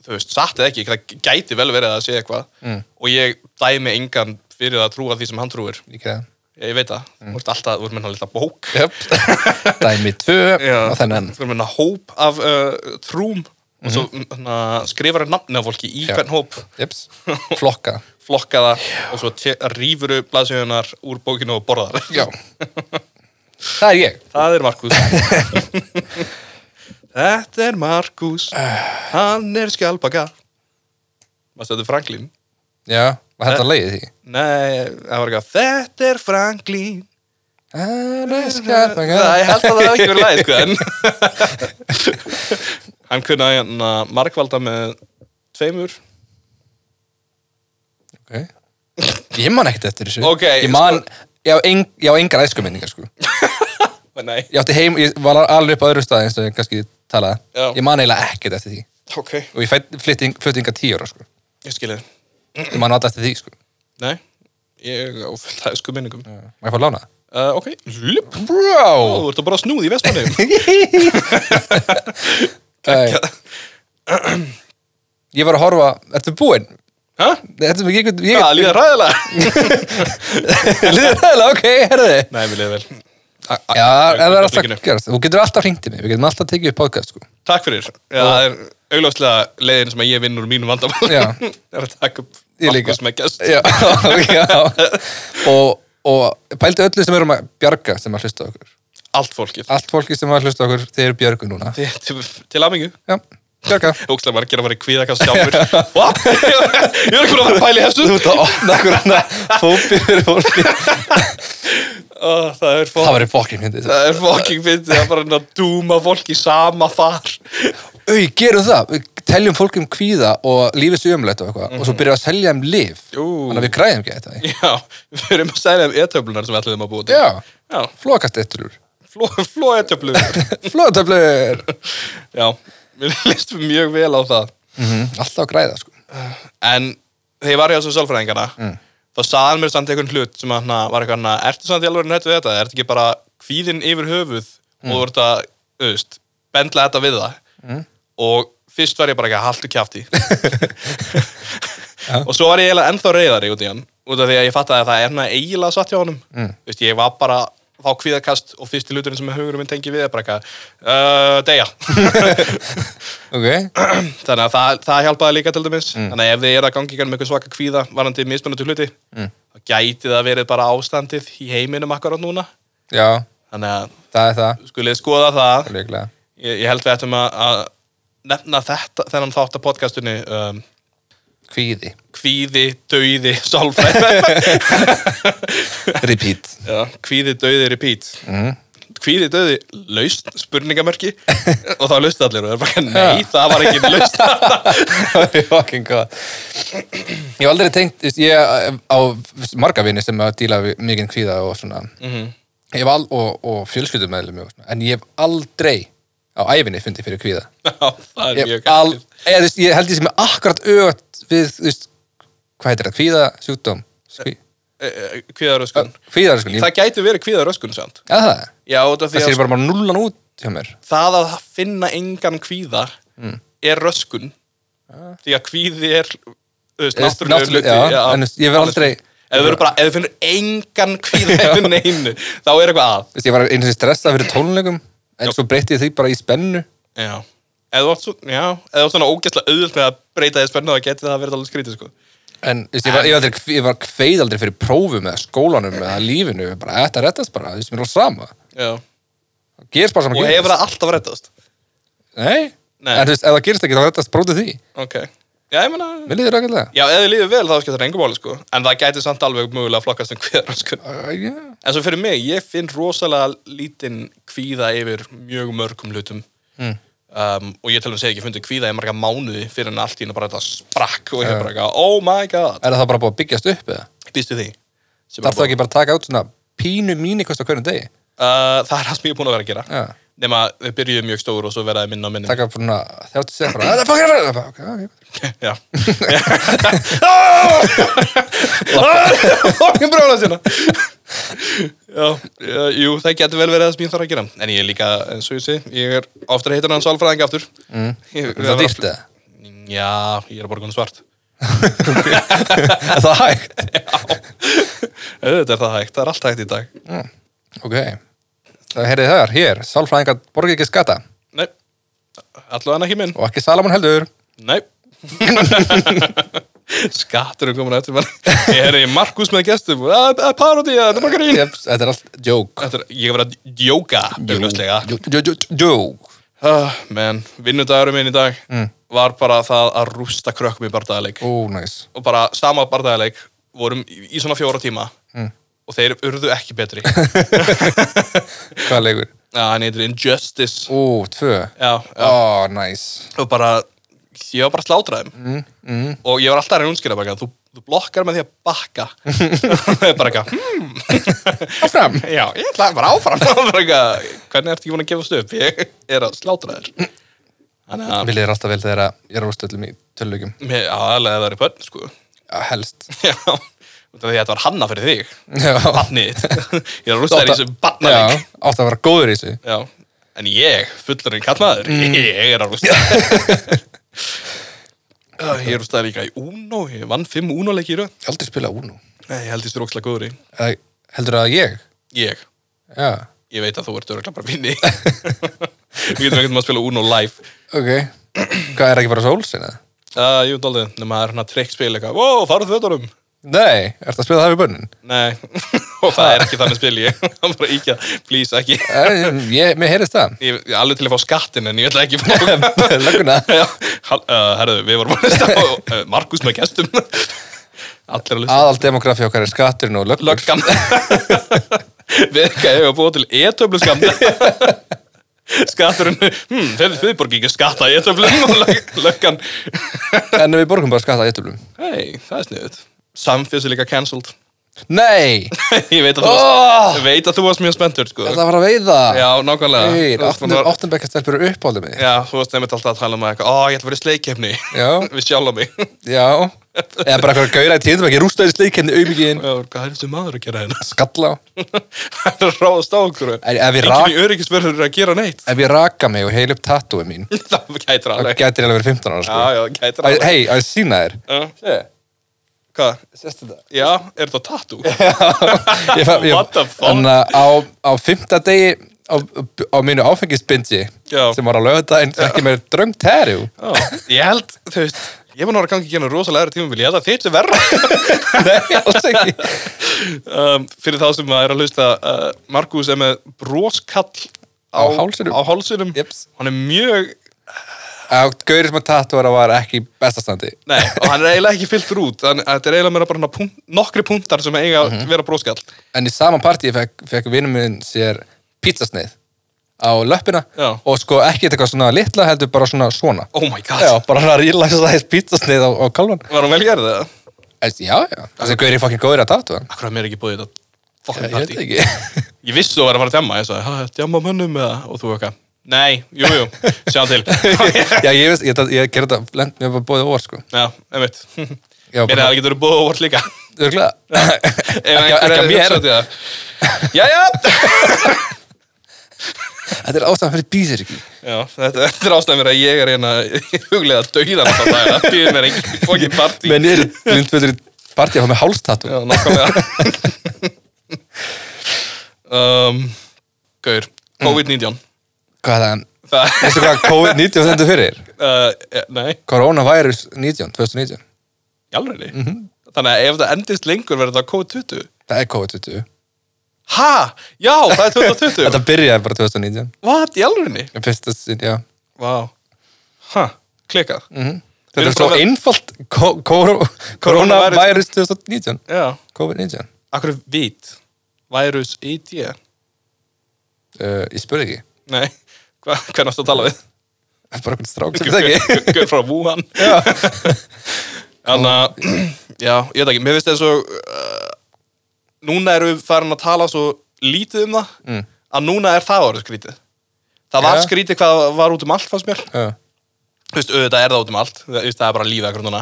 S2: þú veist, satt eða ekki, það gæti vel verið að það sé eitthvað og ég dæmi engan fyrir að trúa því sem hann trúir
S1: Líka það.
S2: ég veit það, þú ert alltaf, þú ert með hann litla bók
S1: Jöp. Dæmi 2 og þennan.
S2: þú ert með hann hóp af uh, trúm og svo hana, skrifar hann nafni af fólki í
S1: Já.
S2: hvern hóp
S1: Jeps. Flokka.
S2: flokka það og svo te- rífuru blaðsjöðunar úr bókinu og borðar
S1: Já. Það er ég.
S2: Það er Markus Þetta er Markus Hann er skjálpaka Varstu þetta er Franklin?
S1: Já. Var þetta
S2: Eh.
S1: leiðið því?
S2: Nei, það var eitthvað Þetta er Franklin Það,
S1: Það
S2: ég held að það hafi ekki verið læg, sko en Hann kunna hérna markvalda með tveimur
S1: Ok. Ég man ekkert eftir þessu.
S2: Ok, sko-
S1: Ég man, ég á, eng, ég á engar æskuminningar sko.
S2: Ó, Nei,
S1: Ég átti heim, ég var alveg upp á öðru staði eins og ég kannski talaði.
S2: Já.
S1: Ég man eiginlega ekkert eftir því.
S2: ok,
S1: Og ég fætt flutting, fluttinga tíu ára sko.
S2: ég skilði
S1: Ég man alltaf eftir því sko.
S2: Nei, ég á fullt af sko minningum uh,
S1: Má ég fá að lána það?
S2: Ok, lup Ó,
S1: Bro!
S2: Þú ert að bara snúð í vestmanni
S1: Æ. Ég var að horfa, ertu búinn?
S2: Hæ?
S1: Þetta sem ég ekki... Ég,
S2: Það líða ræðilega
S1: Líður það, ok, herðu þið.
S2: Nei, mér líður vel
S1: Já, en það er alltaf
S2: augnablikinu.
S1: að gerast. Þú getur alltaf hringt í mig, við getum alltaf tekið upp podcast, sko.
S2: Takk fyrir. Já, það er augljóslega leiðin sem að ég vinn úr mínum vandamál.
S1: Já.
S2: er að taka upp
S1: Ég líka.
S2: Markus með gest.
S1: Já, já. Og, og pældu öllu sem erum að bjarga sem að hlusta á okkur.
S2: Allt fólkið.
S1: Allt fólki sem að hlusta á okkur, þeir eru björgu núna.
S2: Til, til, til aðmengu.
S1: Já, bjarga.
S2: Ógstlega margir að vera í kvíða kannski sjálfur. What? ég er ekki búin að vera að pæla í þessu.
S1: Þú ert að opna okkur hann að fóbi fyrir fólki.
S2: Ó, það
S1: Það
S2: er fólk.
S1: var í fokkin hindi.
S2: Það er fucking fyndið að bara að dúma fólki sama þar.
S1: Þau, gerum það. Við teljum fólki um kvíða og lífið sér umlegt og eitthvað. Og svo byrjum við að selja um líf.
S2: Jú.
S1: Þannig að við græðum ekki þetta.
S2: Já, við erum að segja um e-töflunar sem við ætlum að búa til.
S1: Já,
S2: Já,
S1: flókast eittlur.
S2: fló, fló e-töflunar.
S1: Flóðtöflur.
S2: Já, mér líst mjög vel á það.
S1: Alltaf að græða, sko.
S2: en þegar ég var hjá þessu sálfræðingana þá sagði hann mér samt einhvern hlut sem hann var eitthvað hann ertu samt í alveg nætt við þetta, ertu ekki bara kvíðinn yfir höfuð og þú ert að, þú veist, bendla þetta við það og fyrst var ég bara ekki að haltu kjafti og svo var ég eiginlega ennþá reyðari út í hann út af því að ég fattaði að það er maður eiginlega satt hjá honum mm. Vist, ég var bara að fá kvíðakast og fyrsti hluturinn sem hugurinn minn tengi við er bara eitthvað uh, deyja
S1: ok,
S2: þannig að það, það hjálpaði líka til dæmis
S1: Mm.
S2: þannig að ef þið eru að gangi í gangi með eitthvað svaka kvíða varandi mismunandi hluti
S1: Mm.
S2: þá gæti það verið bara ástandið í heiminum akkurat núna
S1: já,
S2: þannig að
S1: það er það
S2: skulið skoða það
S1: líklega,
S2: ég, ég held við ættum að, að nefna þetta þennan þátt að podcastunni um,
S1: kvíði,
S2: kvíði, dauði, sálfræð
S1: repeat
S2: Já, kvíði, dauði, repeat
S1: mm.
S2: Kvíði, dauði, laust, spurningamörki Og þá laustu allir og það er bara, nei, það var ekki laust
S1: það er fucking góð ég hef aldrei tengt, þú veist, ég á marga vini sem að díla við mikið kvíða og svona
S2: Mhm.
S1: ég hef al, og, og fjölskyldum meðlum en ég hef aldrei á æfinni fundið fyrir kvíða
S2: Já, það er
S1: ég,
S2: mjög
S1: hef al,
S2: gætið
S1: eð, veist, ég held ég sem er akkurat auðvægt við, þú veist, hvað heitir það, kvíða sjúkdóm Skví,
S2: Eh, Kvíðaröskun
S1: kvíðaröskun, ég,
S2: Það gæti verið kvíðaröskun samt
S1: að það
S2: Já, út
S1: það
S2: af því
S1: sér
S2: að sko,
S1: bara bara nullan út hjá mér
S2: það að finna engan kvíða
S1: Mm.
S2: Er röskun Því að kvíði er þú veist,
S1: Eh,
S2: Náttúrulega
S1: náttúrulega,
S2: hluti
S1: já, en þú veist, ég verð aldrei-
S2: Ef þú verður bara, ef þú finnur engan kvíða yfir neinu, þá er eitthvað að
S1: Þú veist, ég var einu sem stressað fyrir tónleikum en svo breytti ég því bara í spennu
S2: Já, eða þú átt svo- já, eða þú átt svona ógæslega auðvöld með að breyta þér spennu þá geti það verið alveg skrítið sko.
S1: en þú veist, ég, var, ég, var aldrei, ég var kveið aldrei fyrir prófum eða skólanum eða lífinu bara þetta rettast bara, þú veist, mér er alveg sama
S2: Já.
S1: það gerist bara saman
S2: Og hefur það alltaf reddast
S1: Nei.
S2: Nei.
S1: en þú veist, ef það gerist ekki þá rettast brótið því
S2: Ok, já ég meina
S1: mér liður ákveðlega
S2: Já, eða þið líður vel þá skiptir það engum máli sko En það gæti samt alveg mögulega flokkast um kviðar sko.
S1: Uh, yeah.
S2: En svo fyrir mig, ég finn rosalega lítinn kvíða yfir mjög mörgum hlutum mm. um, Og ég til og með segja ekki fundið kvíða í marga mánuði Fyrir en allt í henni bara þetta sprakk Og ég bara eitthvað, oh my god
S1: er það bara búið að byggjast upp eða?
S2: Býstu því Sem er
S1: Þarf það ekki bara að taka út svona pínu mínikost á hverjum degi?
S2: Uh, það er það sem ég er búin að vera að gera
S1: Já.
S2: nema við byrjuðum mjög stóru og svo verðaði minna og minna
S1: Taka svona þjáttu segja bara Það er fokkir að vera bara, ok, ok.
S2: Já Fokkin brála sína Já, uh, jú, það getur vel verið það sem ég þarf að gera En ég er líka, eins og ég sé, ég er oftar heitur hann sálfræðing aftur mm. ég,
S1: Er það dýrt eða?
S2: Já, ég er að borga hann svart
S1: Er það hægt?
S2: Auðvitað er það hægt, það er allt hægt í dag
S1: Ok Það heyrið þar, hér, sálfræðingar borgið ekki skatta
S2: Nei, allavega ekki minn
S1: og ekki Salamon heldur
S2: Nei Skatturinn komin eftir mann Ég er í Markus með gestum Það er parodi, þetta er bara grín
S1: Jeps, Þetta er allt joke
S2: Þetta er, Ég er verið að djóka augljóslega.
S1: Joke, joke, joke, joke.
S2: Ah, Men, vinnudagurum minn í dag Var bara það að rústa krökkum í bardagaleik
S1: Ó, næs
S2: Og bara sama bardagaleik Vorum í í svona fjóra tíma Og þeir urðu ekki betri
S1: Hvað leikur?
S2: Já, hann heitir Injustice
S1: Ó, tvö
S2: Já, já
S1: Ó, næs
S2: og bara ég var bara að slátra þeim mm, mm. og ég var alltaf að reyna að útskýra bara, eitthvað, þú, þú blokkar með því að bakka og ég bara eitthvað hmm,
S1: Áfram
S2: já, ég ætla bara áfram Og bara eitthvað, hvernig ertu ekki búin að gefast upp ég er að slátra þér þannig að,
S1: Vil ég alltaf vel þegar að ég er úrstöldum í tölulegjum
S2: mér- já, aðalega það er í pönn sko,
S1: Helst
S2: já út af því að þetta var hanna fyrir þig
S1: Já
S2: barnið þitt, ég er að rústa þér í þessu barnaleg
S1: Já, átt að vera góður í þessu
S2: já, en ég, fullurinn kallmaður
S1: Mm.
S2: ég er að rústa Já, Ég rústaði líka í Uno, ég vann fimm Uno-leiki í röð
S1: Ég hef aldrei spila Uno
S2: Nei, ég held ég strókslega góður í.
S1: Eða, Heldur það að ég?
S2: Ég.
S1: Já
S2: Ég veit að þú ert öruglega bara vinni. Við getum ekkert maður að spila Uno live.
S1: Ok Hvað er ekki bara Souls eða?
S2: Uh, jú, dálítið, nema það er hérna trickspil eitthvað. Wow, farðu þötunum.
S1: Nei, ertu að spila það við bönnin?
S2: Nei, og það er ekki þannig spil ég. Það er bara ekki að, please, ekki.
S1: Eh, Ég, mér heyrist það
S2: Ég ég er alveg til að fá skattin, en ég ætla ekki að fá...
S1: Lögguna
S2: Já, hal- uh, herðu, við vorum að lista á uh, Markus með gestum. Allir að lista.
S1: Aðaldemografi okkar er skatturinn og löggur
S2: Löggan. við ekki að búið til e-töflu skamta. Skatturinn, hmm, þeir, þeir borgi ekki skatta í e-töflum og lög- löggan.
S1: En við borgum bara skatta í ettöflum
S2: Hei, það er sniðut. Samfjörs er líka cancelled.
S1: Nei,
S2: ég veit að, þú varst, ég veit að þú varst mjög spenntur, sko.
S1: þetta var að veiða
S2: Já, nákvæmlega.
S1: Þeir,
S2: Þú veist, maður var-
S1: áttunbekkastelpur eru uppáldið mig
S2: Já, þú varst nefnt alltaf að tala um eitthvað, ó, ég ætla að vera í sleikefni.
S1: Já.
S2: Við sjálf á mig.
S1: Já, eða bara eitthvað gauðra í tíðum ekki rústaði sleikemni auðmikið
S2: Já, Hvað er þessi maður að gera hérna?
S1: skalla á
S2: Það er að ráðast á okkur.
S1: En ef ég
S2: Engin í öryggisverður er að gera neitt.
S1: Ef ég raka mig og heil upp tattúi mín
S2: það gætir
S1: þá
S2: alveg.
S1: gætir ég alveg verið 15 ára
S2: Já,
S1: sko.
S2: já, það gætir
S1: Æ,
S2: alveg.
S1: Hei, að sína þér
S2: Já. Hvað Hvað?
S1: Sérstu þetta?
S2: Já, er þetta tattoo?
S1: Ég fa- ég-
S2: What the fuck?
S1: En uh, á, á fymta degi á, á mínu áfengisbindi
S2: Já.
S1: sem var á lögadaginn ekki mér dröng terjú
S2: Já, ég held, þú veist, ég var náttúrulega gangi genið rosalega erið tímum, ég held að þitt er verra.
S1: Nei, alls ekki
S2: um, fyrir þá sem að er að hlusta, uh, Markus er með broskall á,
S1: Á hálsinum.
S2: Á hálsinum.
S1: Jeps.
S2: Hann er mjög,
S1: að gaurið sem að tattuara var ekki í bestastandi
S2: nei, og hann er eiginlega ekki fyllt út, þannig að þetta er eiginlega meira bara hana punkt, nokkri punktar sem eiga að vera broskall.
S1: en í sama partí fekk, fekk vinnum minn sér pizzasneið á löppina
S2: Já.
S1: og sko ekki eitthvað svona litla heldur bara svona svona
S2: Oh my god,
S1: já, bara hann að rílæsa það eitt pizzasneið á, á kalvan
S2: var hann vel gerðið það?
S1: Þessi, já, já, þessi gaurið fokkin góður að tattu hann
S2: Akkur að mér er ekki búið þetta fucking
S1: ég veit
S2: party.
S1: ekki
S2: Ég vissi þú var að fara að djamma, ég sagði, hæ, djamma mönnum eða, og þú eitthvað, nei, jú, jú, sjá til.
S1: já, ég veist, ég, ég, ég gerði þetta lent, mér var bóðið óvart sko
S2: Já, einmitt.
S1: Já,
S2: Mér
S1: bara-
S2: er að getur búið óvart líka.
S1: Örglega
S2: Ef
S1: Ekki
S2: einhver
S1: ekki
S2: er
S1: að mér
S2: hugsað til það. Jæja!
S1: Þetta er ástæðan fyrir býðir ekki
S2: Já, þetta þetta er ástæðan mér að ég er hérna huglega að dauða þetta dag. Það býður mér ekki fokkin partí.
S1: Menn ég er blindföldur í partí að fá með hálstatú
S2: Já, nákvæmlega. um, Gaur, COVID-19.
S1: Hvað það,
S2: Það,
S1: veistu hvað COVID-19 stendur fyrir?
S2: uh, eh, nei,
S1: Coronavirus 19, 2019
S2: í alveg.
S1: Mhm.
S2: Þannig að ef það endist lengur verður það COVID-20.
S1: Það er COVID-20
S2: Ha? Já, það er 2020.
S1: Þetta byrjaði bara 2019
S2: What, í alveg?
S1: Fyrsta sinn, já
S2: Vá. Ha, klikað. Við
S1: Þetta
S2: erum
S1: er svo
S2: bara-
S1: einfalt ko- koro- Coronavirus 2019
S2: Já.
S1: COVID-19
S2: Akkur vít? E Virus ID?
S1: uh, Ég spurði ekki
S2: Nei, hva, hvernig ástu að tala við?
S1: Það er bara einhvern strák sem það ekki
S2: Guð frá Wuhan Þannig að, já, ég veit ekki, mér finnst þess að uh, núna erum við farin að tala svo lítið um það að núna er það orðið skrítið Það var
S1: Mm. Já.
S2: skrítið hvað var út um allt fannst mér
S1: Já.
S2: Þú veist, auðvitað er það út um allt Þú veist, það er bara lífið akkur núna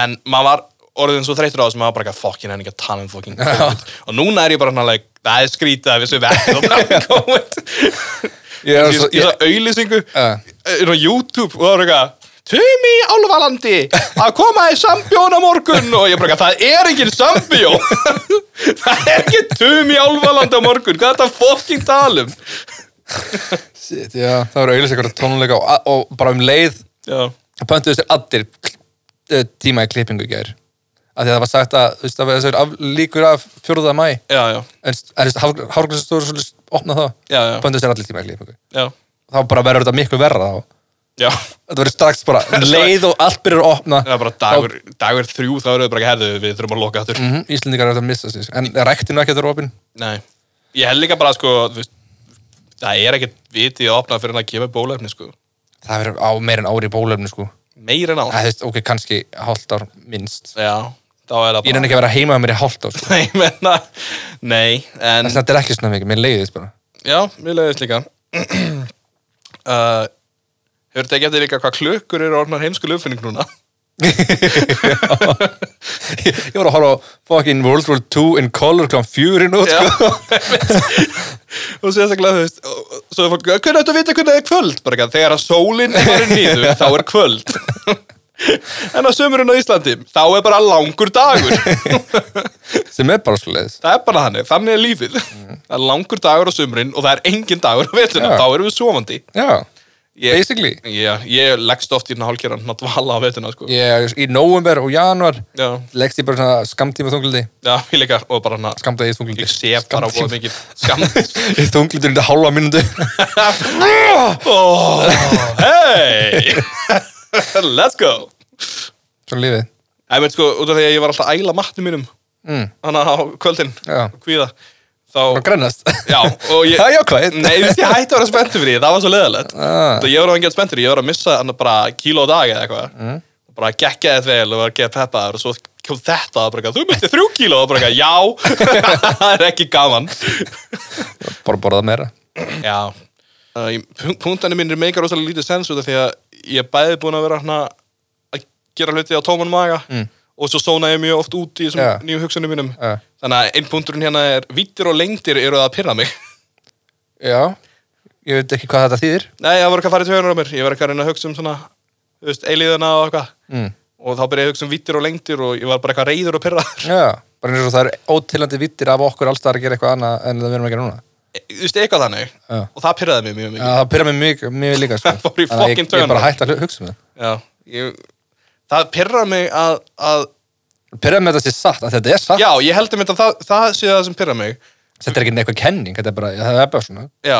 S2: En maður var orðin svo þreytur á þess að maður var bara ekki að fokkin en ekki að tala um fokkin COVID Og núna er ég bara hann að, það er skrítið að við sem verðum að tala um COVID
S1: Ég Ah, er
S2: ég,
S1: svo-
S2: ég, ég sá auðlýsingu
S1: Ja.
S2: inn á YouTube og það var eitthvað Tumi í Álvalandi að koma í sambjón á morgun og ég bara, eitthvað, það er engin sambjón það er ekki Tumi í Álvalandi á morgun hvað er þetta fokking talum
S1: Shit, já, það voru auðvitað eitthvað tónleika og, og bara um leið
S2: já,
S1: Það pöntuðu sér allir eh, tíma í klippingu í gær af því að það var sagt að þú veist, það var þessar af, líkur af 4. mæ
S2: já, já,
S1: en Hárgrímsstóri svolítið opnað þá
S2: Já, já.
S1: pöntuðu sér allir tíma í klippingu
S2: já,
S1: þá bara verður þetta miklu verra þá
S2: já.
S1: þetta verður strax bara um leið og allt byrjar að opna
S2: það er bara dagur, dagur þrjú þá eru við bara ekki herðu við þurfum að loka þáttur
S1: mm Íslendingar er þetta að missa sig sko. en ræktinu ekki að það er opin
S2: nei, ég held líka bara sko þú veist, það er ekkert vitið að opna fyrir hann að gefa bólefni sko,
S1: það verður á meir en ári í bólöfni sko
S2: meira en á
S1: Æ, þú veist, ok, kannski hálft ár minnst
S2: já, þá er það bara
S1: ég nenni ekki að vera heima með mér í hálft ár sko.
S2: Nei, menna, nei, en,
S1: þess að þetta er ekki svona mikið, mér leiðist bara
S2: já, mér leiðist líka. uh, hefur þetta ekki eftir líka hvað klukkur eru orðnar heimskul uppfinning núna?
S1: ég, ég var að horfa á fucking World War 2 in color kláðan fjörin út
S2: Já,
S1: sko.
S2: og sérstaklega, þú veist, og- og svo er fólk, hvernig ættu að vita hvernig það er kvöld? Bara ekki að þegar að sólinn er farin nýður, þá er kvöld. en á sömurinn á Íslandi, þá er bara langur dagur.
S1: sem er bara svo leiðis
S2: það er bara þannig, þannig er lífið. það er langur dagur á sömurinn og það er engin dagur á veturna,
S1: Já.
S2: þá erum við sofandi.
S1: já,
S2: Ég-
S1: basically
S2: Já, ég leggst oft í hérna hálkjörn að dvala á veturna, sko.
S1: ég, í november og januar
S2: Já,
S1: leggst ég bara svona skamtíma þunglindi
S2: já, ég líka, og bara hann að
S1: skamtaði í þunglindi
S2: ég sef bara
S1: Skammtíma-
S2: bóð mikið
S1: í
S2: skam
S1: þunglindi undir hálfa mínútu
S2: oh, Hey Let's go
S1: svona lífið
S2: Æ, veit sko, út af því að ég var alltaf að æla matnum mínum
S1: mm.
S2: Þannig á kvöldin
S1: Já.
S2: Kvíða
S1: og
S2: Þá,
S1: grannast
S2: já, og ég
S1: það er jákvæð
S2: Nei, þú veist, ég hætti að vera spenntur fyrir því, það var svo leðalegt
S1: Ah.
S2: Það ég var ekki að spenntur, ég var að missa hann bara kíló á dag eða eitthvað
S1: Mm.
S2: Bara gekkja þetta vel og var að geða peppaður og svo kom þetta og bara eitthvað, þú myndir þrjú kíló og bara eitthvað, já, það er ekki gaman
S1: bara borðað meira
S2: Já uh, Puntanir mínir meikar rosalega lítið sens út af því að ég er bæði búin að vera hana, að gera hluti á tóman maga og svo sóna ég mjög oft út í þessum
S1: Mm. Já.
S2: nýju hugsunum mínum
S1: Já.
S2: þannig að einn punkturinn hérna er vittir og lengdir eru að pyrra mig
S1: já, ég veit ekki hvað þetta þýðir
S2: Nei, það voru eitthvað að fara í tvöðunar á mér ég var eitthvað að reyna að hugsa um svona þú veist, eilíðina og eitthvað
S1: mm.
S2: og þá byrjaði ég að hugsa um vittir og lengdir og ég var bara eitthvað reyður og pyrraður
S1: Já, bara eins og það er ótilandi vittir af okkur allstæðar að gera eitthvað annað en það verðum að gera núna.
S2: þú veist, eitthvað þannig
S1: Já.
S2: og það pyrraði mig mjög
S1: Já, það
S2: mikið
S1: pyrra mig mjög, mjög líka, sko.
S2: Það fór í
S1: Þannig að ég- Ég er bara
S2: fucking taugarnar.
S1: hægt að hu- hugsa um það.
S2: Já, ég, það pyrraði mig að, að
S1: Pyrraði með þetta sé satt, að þetta er satt.
S2: já, ég heldur mynd að það, það sé það sem pyrraði mig
S1: Þetta er ekki eitthvað kenning, þetta er bara, það er bara svona.
S2: já,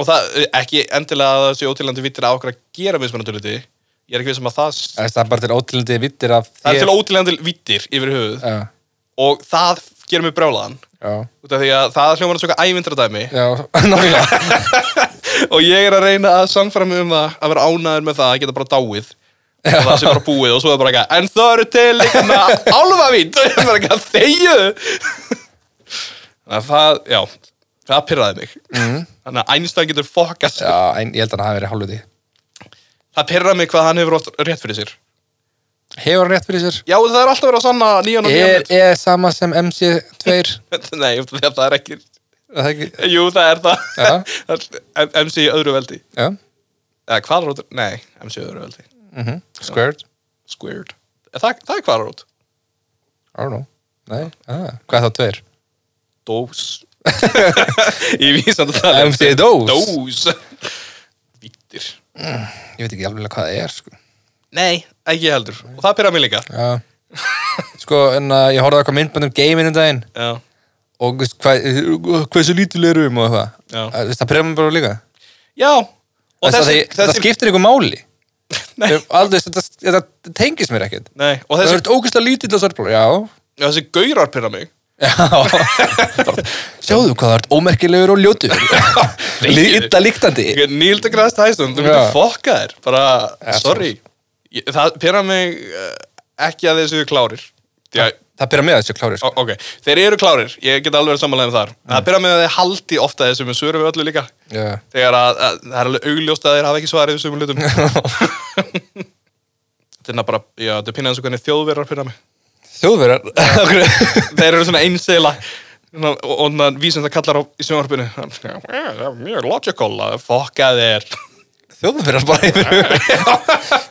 S2: og það, eh, ekki endilega að það sé ótilandi vittir að okkur að gera mismunandi hluti. ég er ekki vissum að það s-
S1: Það er bara til ótilandi vittir af
S2: það er til ótilandi vittir yfir höfuð
S1: Já,
S2: og það gerir mig brjálaðan
S1: já,
S2: út af því að það hljómar að söka ævindra dæmi
S1: já, nákvæmlega.
S2: og ég er að reyna að samfæra mig um það að vera ánæður með það að geta bara dáið og það sé bara búið og svo er bara eitthvað en það eru til líka álfavín og ég er bara eitthvað þegju þannig að það, já það pyrraði mig þannig að Einstein getur fokast
S1: Já, en ég held að hann hafi verið hálfuti.
S2: það pyrraði mig hvað hann hefur oft rétt fyrir sér
S1: Hefur hann rétt fyrir sér?
S2: já það er alltaf verið að sanna nýjan og
S1: Er,
S2: nýjan
S1: er sama sem MC2?
S2: hlut. nei, út af því að það er ekki
S1: Er það ekki?
S2: jú það er það
S1: Já.
S2: Það er MC í öðru veldi
S1: Já,
S2: eða kvalrót, nei, MC í öðru veldi
S1: mhm, squared.
S2: squared Er það, það er kvalrót
S1: I don't know. Nei, ah, hvað þá tveir?
S2: Dós Ég vísan að tala
S1: MC dós?
S2: Dós Vítir
S1: Ég veit ekki alveg hvað það er, sko.
S2: Nei, ekki heldur Og það pyrra mig líka
S1: Já. Sko, en uh, ég horfði á eitthvað myndband um gaming um daginn
S2: Já,
S1: og veist, hva, hversu lítil erum og eitthvað.
S2: Já.
S1: Að, veist, Það prefum bara líka.
S2: Já. Og
S1: Þessi, þessi,
S2: þessi,
S1: það skiptir ykkur máli.
S2: Nei.
S1: Ef Aldrei, þetta, þetta tengist mér ekkert.
S2: Nei, og
S1: Það
S2: þessi,
S1: verður ógæslega lítill á svartból. Já.
S2: þessi gaurar pyrra mig
S1: Já. Sjáðu hvað það ert ómerkilegur og ljótur.
S2: Nei.
S1: Lítið líktandi.
S2: Nílda græðst hæstum, um, þú
S1: Já.
S2: myndir fokka þér Bara,
S1: Já,
S2: sorry ég, Það pyrra mig uh, ekki að þessu klárir Já,
S1: Það byrja með þessu klári.
S2: Ó-
S1: Sko.
S2: ok, þeir eru klárir, ég get alveg verið samanlega um þar mm. Það byrja með að þeir haldi ofta þessu með svörum við öllu líka
S1: Já.
S2: Þegar að, að það er alveg augljóst að þeir hafa ekki svarið þessum hlutum Þetta er bara, já, þetta er pínu eins og hvernig þjóðverðar pyrra mig
S1: Þjóðverðar. Okkur-
S2: Þeir eru svona einsela svona- og, og þannig vísum það kallar á í sjónvarpinu Hann svona, "Já, Það er mjög logical að fokka þér
S1: Þjóðverðar bara yfir.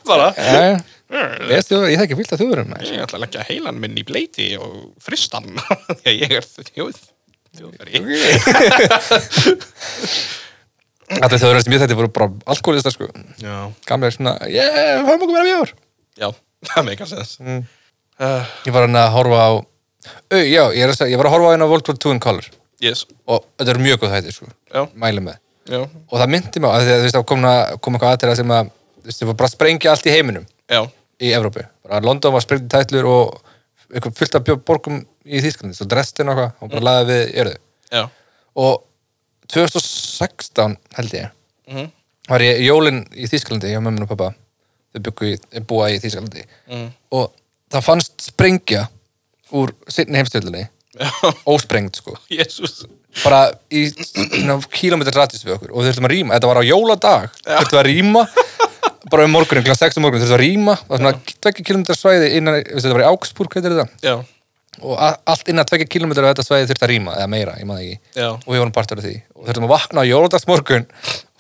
S2: Bara,
S1: Já.
S2: "Mm,
S1: Ég þekki ekki vilt að þjóðverðum.
S2: ég ætla að leggja heilan minn í bleiti og fristan Því að ég er þjóð Þjóðverði
S1: Allir þjóðverðar sem ég þekkti voru bara alkoholistar sko.
S2: Já,
S1: Gamlega svona, ég, höfum okkur meira mjögur.
S2: já, það meikar sens mm. uh,
S1: Ég var hann að horfa á Au, já, ég, er að segja, ég var að horfa á hérna World War 2 in Color
S2: Yes,
S1: og þetta er mjög góð þættir, sko,
S2: já,
S1: mæli með
S2: já,
S1: og það myndi mig á, að því að þú veist, þá kom, að- kom eitthvað aðtæra sem að, þú veist, það var bara að sprengja allt í heiminum
S2: já
S1: í Evrópu, bara London var sprengt í tætlur og eitthvað fullt af bjó- borgum í Þýsklandi, svo Dresden og eitthvað og bara laðið við jörðu
S2: Já,
S1: og 2016 held ég,
S2: mhm,
S1: var ég í jólin í Þýskalandi hjá mömmun og pappa þau byggu í, búa í Þýskalandi
S2: Mm.
S1: og það fannst sprengja úr sinni heimstjöldinni
S2: já,
S1: ósprengt sko
S2: jésús
S1: bara í kílometrar rættis við okkur og við þurftum að rýma, þetta var á jóladag þurftum að rýma bara um morgunin, kláð 6 um morgunin þurftum að rýma það var svona 2 kilometrar svæði innan, veistu, þetta var í Augsburg heitir þetta
S2: Já,
S1: og a- allt innan 2 kilometrar af þetta svæði þurfti að rýma eða meira, ég maður ekki
S2: já
S1: og við vorum partur af því og þurftum að vakna á jóladags morgun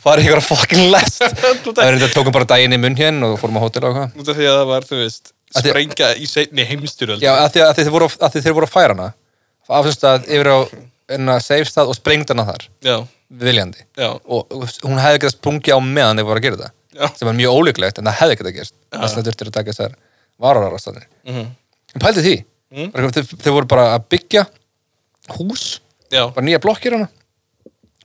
S1: fara í einhverja fucking lest það er þetta tókum bara daginn í munn hérna og fórum á hótel og hvað
S2: Út af því að það var, þú veist,
S1: Af því-
S2: sprengja í seinni heimstyröld
S1: já, að því, að því, þeir voru, að því þeir voru að færa hana af þessum stað yfir á enna safe stað og sprengd hana þar
S2: já,
S1: viljandi
S2: já,
S1: og hún hefði getað sprungið á meðan þeir voru að gera það
S2: Já.
S1: sem var mjög ólíklegt en það hefði getað gerst þess að þurftir að taka þessar varararastannir
S2: mhm,
S1: en pældi því,
S2: Mm.
S1: mm. þeir, þeir voru bara að byggja hús,
S2: já,
S1: bara nýja blokkir hana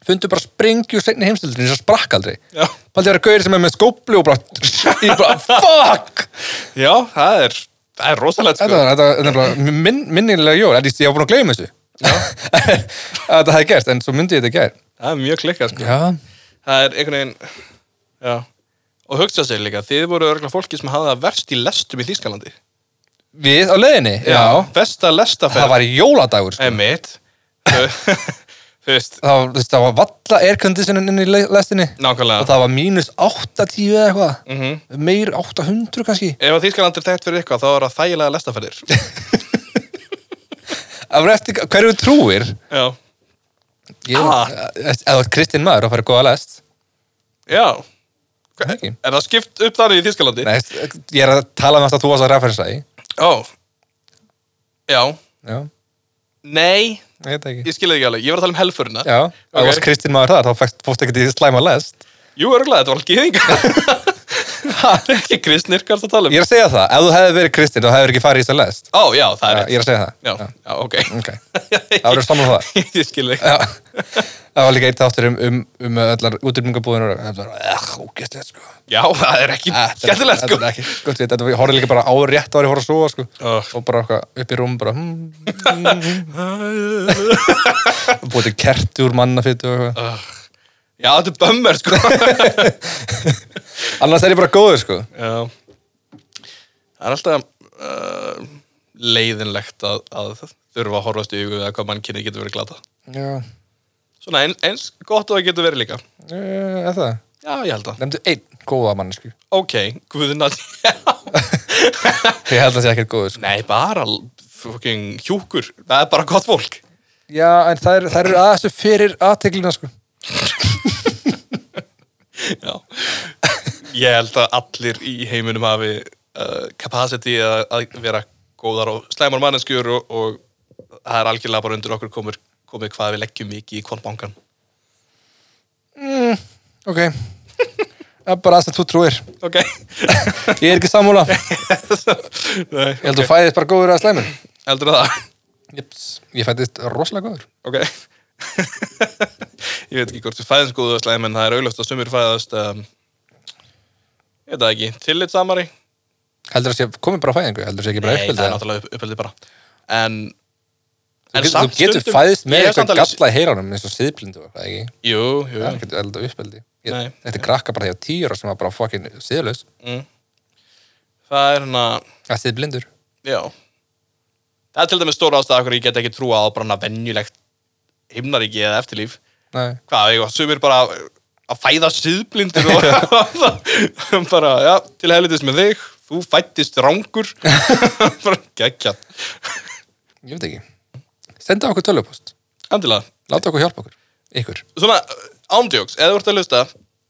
S1: fundu bara sprengju seinni heimstöldinni sem sprakk aldrei
S2: já
S1: Paldi að vera gauðir sem er með skópli og bara, ég bara, fuck!
S2: Já, það er, það er rosalegt,
S1: Þetta
S2: sko
S1: var, þetta var, þetta var bara minn, minnilega jól, en ég ég var búin að gleyma þessu. að þetta hefði gerst, en svo myndi ég þetta gær.
S2: Það er mjög klikkað, sko
S1: Já,
S2: Það er einhvern veginn, já Og hugsa sér líka, þið voru örgulega fólki sem hafði það verst í lestum í Þýskalandi
S1: við á leiðinni, já.
S2: Besta
S1: Það
S2: lestaferð
S1: var jóladagur,
S2: Eh.
S1: sko.
S2: Emmitt Þú veist,
S1: Það, var- þú veist, það var valla airconditionin inn í le- lestinni og
S2: nákvæmlega
S1: það var mínus 80 eða eitthvað.
S2: Mhm
S1: Meir 800 kannski.
S2: Ef að Þýskaland er þekkt fyrir eitthvað, þá er það þægilega lestaferðir.
S1: Það var eftir hverju þú trúir.
S2: Já.
S1: Ég, Eh,
S2: Ah.
S1: ah. Eða þú ert kristinn maður og farið góða lest.
S2: Já.
S1: Það ekki.
S2: Er það skipt upp þannig í Þískalandi?
S1: Nei, ég er að tala um þetta að þú varst að referensa í.
S2: Ó Já
S1: Já,
S2: Nei,
S1: ég veit það ekki.
S2: ég skilði ekki alveg Ég var að tala um helfurina
S1: Já, okay.
S2: Ok.
S1: það varst Kristín maður þar, þá fækst fótt ekkert í slæma lest.
S2: Jú, örgulega, þetta var alveg gýðingar Ekki kristnir, hvað er það að tala um?
S1: Ég er að segja það, ef þú hefði verið Kristín, þá hefur ekki farið í þess lest.
S2: Ó, já,
S1: Já,
S2: það
S1: Mm.
S2: er
S1: ég er að segja það.
S2: Já, já, ok
S1: Ok, það verður saman á það.
S2: Ég skilði ekki
S1: Já, það var líka eitt áttur um, um, um allar útrýmingabúðinu og það var, eh, ógæstlegt sko.
S2: Já, það er ekki skemmtilegt, sko
S1: Þetta er ekki, gott við, þetta var, ég horfði líka bara á rétt ári, horfði að sofa, sko.
S2: Ugh.
S1: Og bara okkar upp í rúm, bara, hmm,
S2: sko.
S1: búið til kerti úr mannafittu og eitthvað.
S2: Já, þetta er bömmur, sko
S1: Annars er ég bara góður, sko.
S2: Já Það er alltaf uh, leiðinlegt að, að þurfa að horfast í hugu að hvað mann kynni getur verið glata
S1: Já,
S2: Svona eins, eins gott og það getur verið líka
S1: eh, er það.
S2: Já, ég held að
S1: Nefndu einn góða sko. mannesku.
S2: Ok, guðna
S1: Ég held að það sé ekkert góður, sko.
S2: Nei, bara l- fucking hjúkur Það er bara gott fólk
S1: Já, en það eru er aðeins fyrir aðteglina, sko.
S2: Já Ég held að allir í heiminum hafi uh, capacity að, að vera góðar og slæmar manneskjur og, og það er algjörlega bara undir okkur komur, komið hvað við leggjum mikið í hvort bankan
S1: Ok. Það er bara aðeins að þú trúir.
S2: Ok
S1: Ég er ekki samúla. Ég
S2: Nei,
S1: held að þú fæðist bara góður að slæmur.
S2: Heldur það?
S1: Jeps. Ég fættist rosalega góður.
S2: Ok Ég veit ekki hvort þú fæðins góðu að slæm en það er augljóst að sumir fæðast um, Ég veit það ekki, tillit samari
S1: Heldur það sé, komið bara að fæðingu, heldur það sé ekki bara
S2: Nei, það er
S1: uppfylgð.
S2: náttúrulega upp, uppeldi bara En,
S1: Þú getur, þú getur fæðist með eitthvað galla í heilanum eins og siðblindu, er það ekki?
S2: Jú, jú,
S1: Það er ekkert elda uppeldi. Ég-
S2: Nei.
S1: Þetta er krakka bara því að týra sem var bara fokkin siðlaus.
S2: mm. það er hérna
S1: Það er siðblindur.
S2: Já Það er til dæmis stóra ástæða okkur ég get ekki trúa á branna venjulegt himnaríki eða eftirlíf
S1: Nei.
S2: Hvað, ég, sumir bara að fæða síðblindir og bara, já, til helvitis með þig þú fættist rangur bara geggja
S1: Ég veit ekki. Senda okkur tölupost.
S2: Endilega,
S1: Láta okkur hjálpa okkur. Ykkur.
S2: svona ándjóks, eða þú ert að hlusta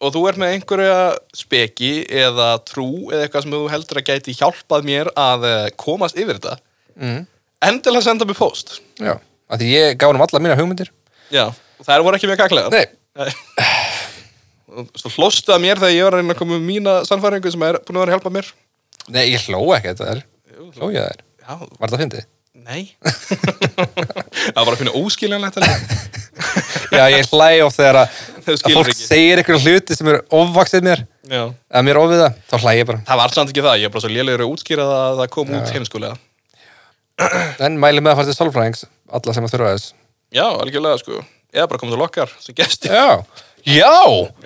S2: og þú ert með einhverja speki eða trú eða eitthvað sem þú heldur að gæti hjálpað mér að eh, komast yfir þetta
S1: Mm.
S2: endilega senda mér post
S1: Já. Af því ég gaf hann allar mína hugmyndir.
S2: Já, og þær voru ekki mjög kaklega
S1: Nei.
S2: Svo hlóstu að mér þegar ég var að reyna að koma um mína sannfæringu sem er búin að vera að hjálpa mér
S1: Nei, ég hló ekki þetta þær.
S2: Jú,
S1: Hló ég þær.
S2: Já,
S1: Var þetta fyndið?
S2: nei Það var bara að finna óskiljanlegt henni
S1: Já, ég hlæ of þegar að,
S2: Þú
S1: að
S2: skilur
S1: fólk
S2: ekki.
S1: segir einhverju hluti sem er ofvaksið mér,
S2: Já
S1: að mér ofið það, þá hlæ ég bara.
S2: Það var samt ekki það, ég er bara svo lélegur að útskýra það að það kom út sko, heimskulega
S1: En mæli með að fara til sálfræðings, alla sem að þurfa þess.
S2: Já, algjörlega sko Eða bara komið til okkar sem gesti
S1: Já, já,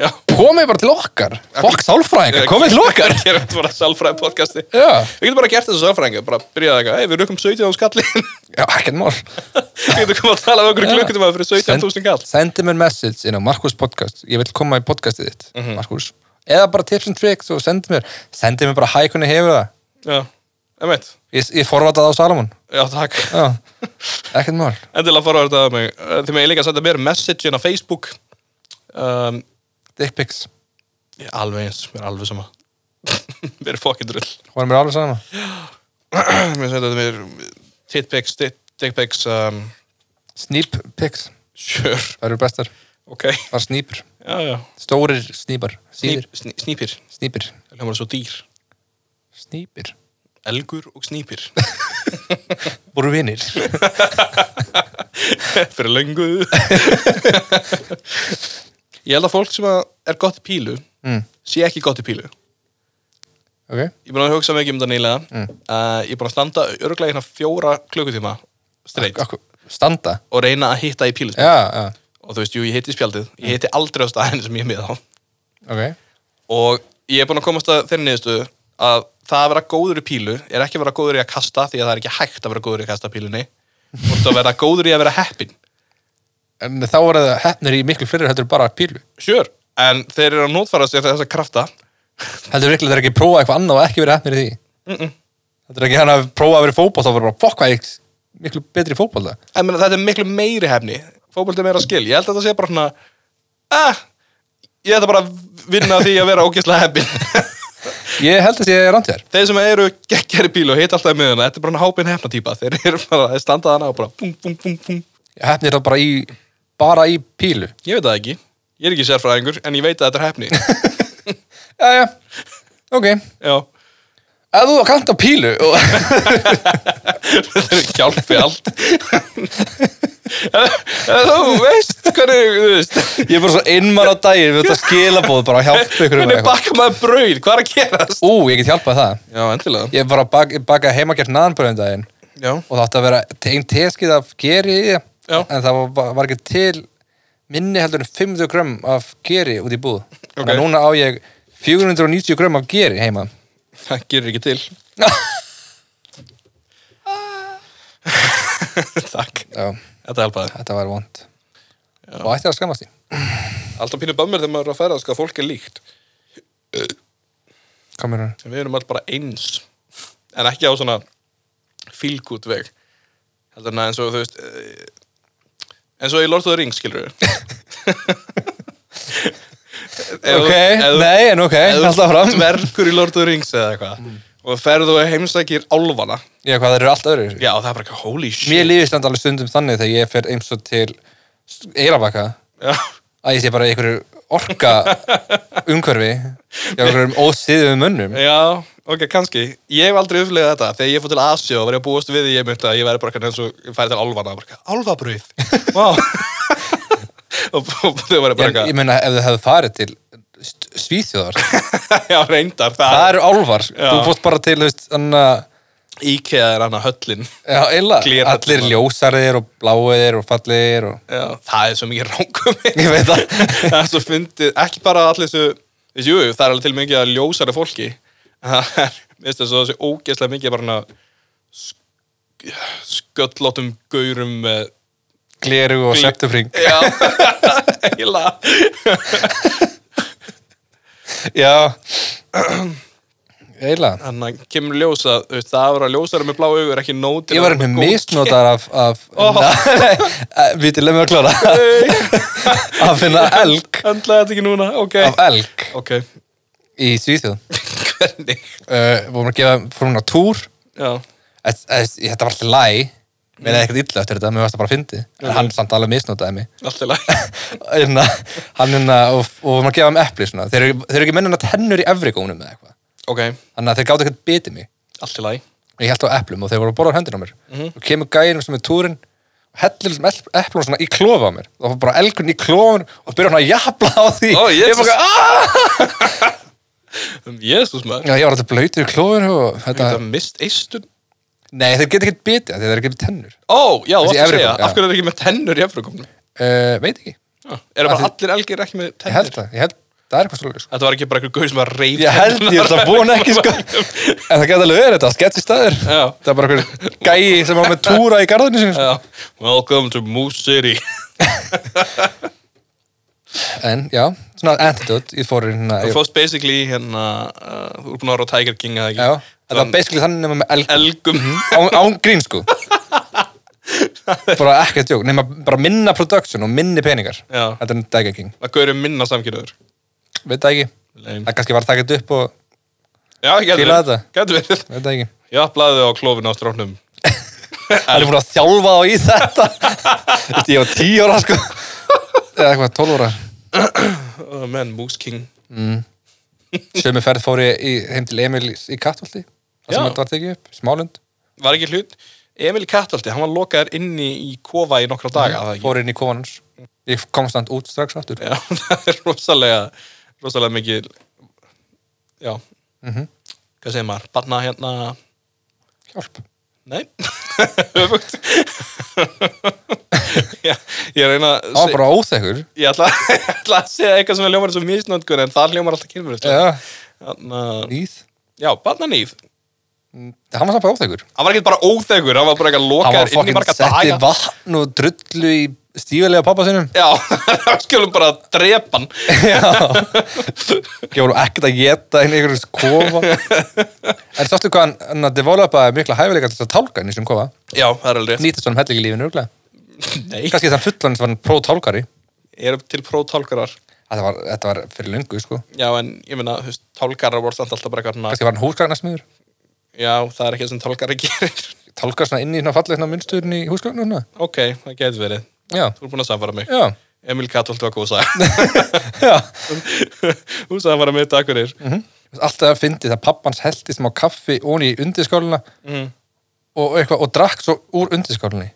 S2: Já.
S1: komið bara til okkar. Fokk sálfræðinga, komið til okkar.
S2: Ég er bara sálfræði podcasti
S1: Já,
S2: Við getum bara gert þessu sálfræðinga, bara byrjaði eitthvað Hei, við rukum 17 á skallin
S1: já, ekkert mál.
S2: Við getum komið að tala um okkur
S1: Já.
S2: klukkutum að fyrir 17.000 kall
S1: Sendi mér message inn á Markus podcast, ég vil koma í podcastið þitt,
S2: Mhm.
S1: Markus. Eða bara tips and tricks og sendi mér, sendi mér bara hæ hvernig hefur það.
S2: Já, emmitt
S1: Ég, ég forvata það á Salomon.
S2: Já, takk
S1: Já, ekkert mál.
S2: Endilega fara að þetta að mig Eh, Þið megið líka að senda mér message inn á Facebook um,
S1: Dick pics,
S2: ég, er Alveg eins, mér er alveg sama Mér er fokkin drull
S1: vorum mér alveg sama.
S2: Mér senda þetta mér Titpics, dickpics um,
S1: Sneep pics,
S2: Sure,
S1: það eru bestar.
S2: ok
S1: Það er snýpur,
S2: Já, já
S1: stórir snýpar, síður,
S2: Sníp, sní, Snípir,
S1: snýpir,
S2: það hljómar svo dýr
S1: snýpir.
S2: Elgur og snípir
S1: Voru vinir.
S2: fyrir löngu ég held að fólk sem að er gott í pílu
S1: Mm.
S2: sé ekki gott í pílu ég
S1: Ok,
S2: er búin að hugsa mikið um þetta nýlega uh, ég er búin að standa örglega hérna fjóra klukkutíma streit
S1: Akkur, standa.
S2: og reyna að hitta í pílu
S1: Já, já,
S2: og þú veist, jú, ég hitti spjaldið ég hitti aldrei á staðin sem ég er með á
S1: ok.
S2: og ég er búin að komast að þeirri niðurstöðu að það að vera góður í pílu er ekki að vera góður í að kasta því að það er ekki hægt að vera góður í að kasta pílunni þú ert að vera góður í að vera heppin
S1: En þá voru það hefnir í miklu fyrir heldur en bara pílu.
S2: sure. en þeir eru að nótfara sér þess krafta
S1: Heldur virkilega þeir ekki prófa eitthvað annað og ekki verið hefnir í því. Heldur ekki hann að prófa að vera fótboll þá voru bara fokk hvað ég er miklu betri í fótboll það.
S2: En meina, þetta er miklu meiri hefni Fótbolti er meira skil Ég held að þetta sé bara svona ah, ég ætla bara að vinna að því að vera ógeðslega heppin
S1: Ég held að ég er randið þér.
S2: þeir sem eru geggjari bíl og hita alltaf í miðuna þetta er bara hápin hefna típa þeir eru bara þeir standa hana og bara bum, bum, bum, bum.
S1: Hefnir það bara í, bara í pílu.
S2: ég veit það ekki, ég er ekki sérfræðingur en ég veit að þetta er hefni
S1: Jæja, ok.
S2: já,
S1: Ef þú kannt á pílu og
S2: þetta er hjálpi allt en þú veist hvernig þú veist
S1: ég er bara svo innmann á daginn við þetta skilabóð bara að hjálpa ykkur um
S2: hvernig bakar maður brauð, hvað er að gerast
S1: Ú, ég get hjálpað það.
S2: já, endilega
S1: Ég bara bak, bakaði heimagjart naðanbröðum daginn
S2: já,
S1: og það átti að vera einn teskið af geri í
S2: Já.
S1: því en það var, var ekki til minni heldur en 50 grömm af geri út í búð.
S2: Ok.
S1: Þannig að núna á ég 490 grömm af geri heima.
S2: það gerir ekki til takk,
S1: Já,
S2: þetta hjálpaði
S1: þetta var vond. Og ætti að skamast því.
S2: alltaf pínu bömmur þegar maður er að færa sko, að fólk er líkt
S1: Kamerun.
S2: En við erum alltaf bara eins en ekki á svona fílgút veg heldur en að eins og þú veist eh, eins og í Lord of the Rings skilur við
S1: Ok, nei, en ok, alltaf fram.
S2: dvergur í Lord of the Rings eða eitthvað
S1: Mm.
S2: og ferðu og heimsækir álfana
S1: Já, hvað þeir eru allt öðru.
S2: já það er bara ekki holy shit
S1: Mér lífist enda alveg stundum þannig þegar ég fer eins og til Eirabakka
S2: já,
S1: að ég sé bara í einhverju orka umhverfi hjá einhverjum ósýðum mönnum.
S2: já, ok, kannski ég hef aldrei upplegað þetta þegar ég fór til Asjó var ég að búast við því ég myndi að ég væri bara eitthvað eins og ég færi til álfana bara, eitthvað, álfabrauð wow. og, og þau væri bara
S1: Ég,
S2: eitthvað
S1: ég meina ef þau hefðu farið til st- Svíþjóðar,
S2: Já, reyndar, það,
S1: það eru álfar.
S2: Já.
S1: Þú fórst bara til, þú veist, þannig að,
S2: IKEA er annað höllin
S1: já, eila,
S2: Glerhöll.
S1: allir ljósariðir og bláiðir og falliðir og...
S2: Já. Það er svo mikið rángum
S1: Ég veit það.
S2: Það er svo fyndið, ekki bara allir þessu þessu, Jú, það er alveg til mikið að ljósari fólki En Það er, veist það, svo þessu ógeðslega mikið bara hana sköllóttum gaurum með
S1: Gleru og septufring.
S2: Já, eiginlega
S1: Já. Eila.
S2: Þannig að kemur ljósa, þú veist, það að vera ljósari með blá augur ekki nóti
S1: Ég var með misnotar af, af
S2: Ó.
S1: Nei, við til lemmi að klára að finna elg
S2: Handlaði þetta ekki núna, ok
S1: af elg
S2: Ok,
S1: í Svíþjóð
S2: hvernig
S1: uh, vorum að gefa, fórum að túr
S2: Já,
S1: Þess- þess- þetta var alltaf læg með ekkert illa eftir þetta, mér varst það bara að fyndi en hann samt alveg misnotaði mig
S2: allt í lagi
S1: Einna, hann hérna, og, og vorum að gefa hann epli svona. þeir eru þeir eru ekki mennin að tennur í efrigónum eða eitthvað,
S2: Ok,
S1: þannig að þeir gátu ekkert bitið mig
S2: allt í lagi
S1: ég held á eplum og þeir voru að borða á hendina á mér og kemur gæðin sem er túrin og hellir þessum epl- eplum svona í klofa á mér og það var bara elgun í klofan og byrja hann að jafla á því
S2: Ó,
S1: ég,
S2: Jesus.
S1: bara, "Ah!"
S2: Um, Jésús Ah! maður,
S1: Já, ég var alltaf blöytur í klofinu og þetta,
S2: þetta mist eistun
S1: nei þeir geta ekkert bitið af því þeir eru ekki með tennur
S2: Ó, já,
S1: Þessi
S2: þú varst að
S1: Evrópu,
S2: segja,
S1: já.
S2: af hverju er ekki með tennur í Afrikum?
S1: uh, veit ekki,
S2: Eru bara allir elgir ekki með
S1: ég
S2: tennur?
S1: held það ég held, það er eitthvað svolítið sko.
S2: Þetta var ekki bara einhver gauð sem var reyf
S1: ég held, ég er alltaf búin ekki sko. en það geta alveg verið þetta, sketsi staður
S2: Já.
S1: það er bara einhver gæi sem var með túra í garðinu sinni sko.
S2: Já, welcome to Moose City
S1: en já, svona antidote ég fór hérna
S2: Þú
S1: ég-
S2: fórst basically í hérna uh, Þú er búin að vera á Tiger King eða
S1: já, Mhm.
S2: ekki
S1: þetta var basically þannig nema með elg
S2: Elgum
S1: án, án grín sko bara ekkert jók nema bara minna production og minni peningar
S2: Já.
S1: þetta er Tiger King
S2: að gauður minna samkynnaður
S1: veit það ekki
S2: Lame.
S1: það kannski var takkt upp og
S2: Já, gæti
S1: Fílaði
S2: verið
S1: þetta?
S2: Gæti verið
S1: veit það ekki
S2: Já, blæðið á klófinu á stróknum
S1: það er búin að þjálfa þá í þetta Veistu, ég var 10 ára sko eða eitthvað 12 ára
S2: oh, Man, Moose King
S1: sömu ferð fór ég í, heim til Emil í- í Kattvaldi það sem
S2: Já.
S1: þetta var tekið upp smálund
S2: Var ekki hlut Emil Kattaldi, hann var lokaður inni í kofa í nokkra daga mm.
S1: fór inn í kofanans ég kom stand út strax aftur
S2: Já, það er rosalega rosalega mikið já
S1: Mhm.
S2: hvað segir maður, barna hérna
S1: hjálp
S2: nei, öfugt já, ég er að reyna að
S1: það var
S2: seg-
S1: bara óþekkur
S2: ég ætla, ég ætla að segja eitthvað sem er ljómar svo misnótkun en það ljómar alltaf kynfur
S1: já,
S2: Þarna-
S1: nýð
S2: já, barna nýð
S1: hann var samt bara óþekkur
S2: hann var ekkert bara óþegur, hann var bara eitthvað
S1: hann var
S2: lokaður inn í
S1: fokkin
S2: marga
S1: setti
S2: daga
S1: vatn og drullu í stífilega pappa sinum
S2: já, hann skulum bara drepa hann
S1: gefur hún ekkert að geta inn í einhverjum kofa en sástu hvað hann, hann að developaði mikla hæfileika til þess að tálka inn í þessum kofa
S2: já, það er alveg rétt
S1: nýtast honum hellingi í lífinu örglega
S2: nei,
S1: kannski þann fullan sem var hann pró-tálkari
S2: ég er til prótálkarar
S1: að Þetta var, þetta var fyrir löngu, sko.
S2: Já, en ég meina, þú veist, tálgarar voru samt alltaf bara eitthvað svona,
S1: Kannski var hann húsgagnasmiður.
S2: já, það er ekki það sem tálgarar gerir.
S1: Tálka svona inn í svona fallegna munsturinn í húsgagnuna.
S2: ok, það getur verið.
S1: Já,
S2: Þú er búin að samfara mig.
S1: já,
S2: Emil Katolt var góð sag.
S1: já. Mhm.
S2: Þú samfara mig, takk fyrir.
S1: Alltaf fyndið að pappans heldist má kaffi ón í undirskáluna
S2: Mm.
S1: og, eitthvað, og drakk svo úr undirskálinni.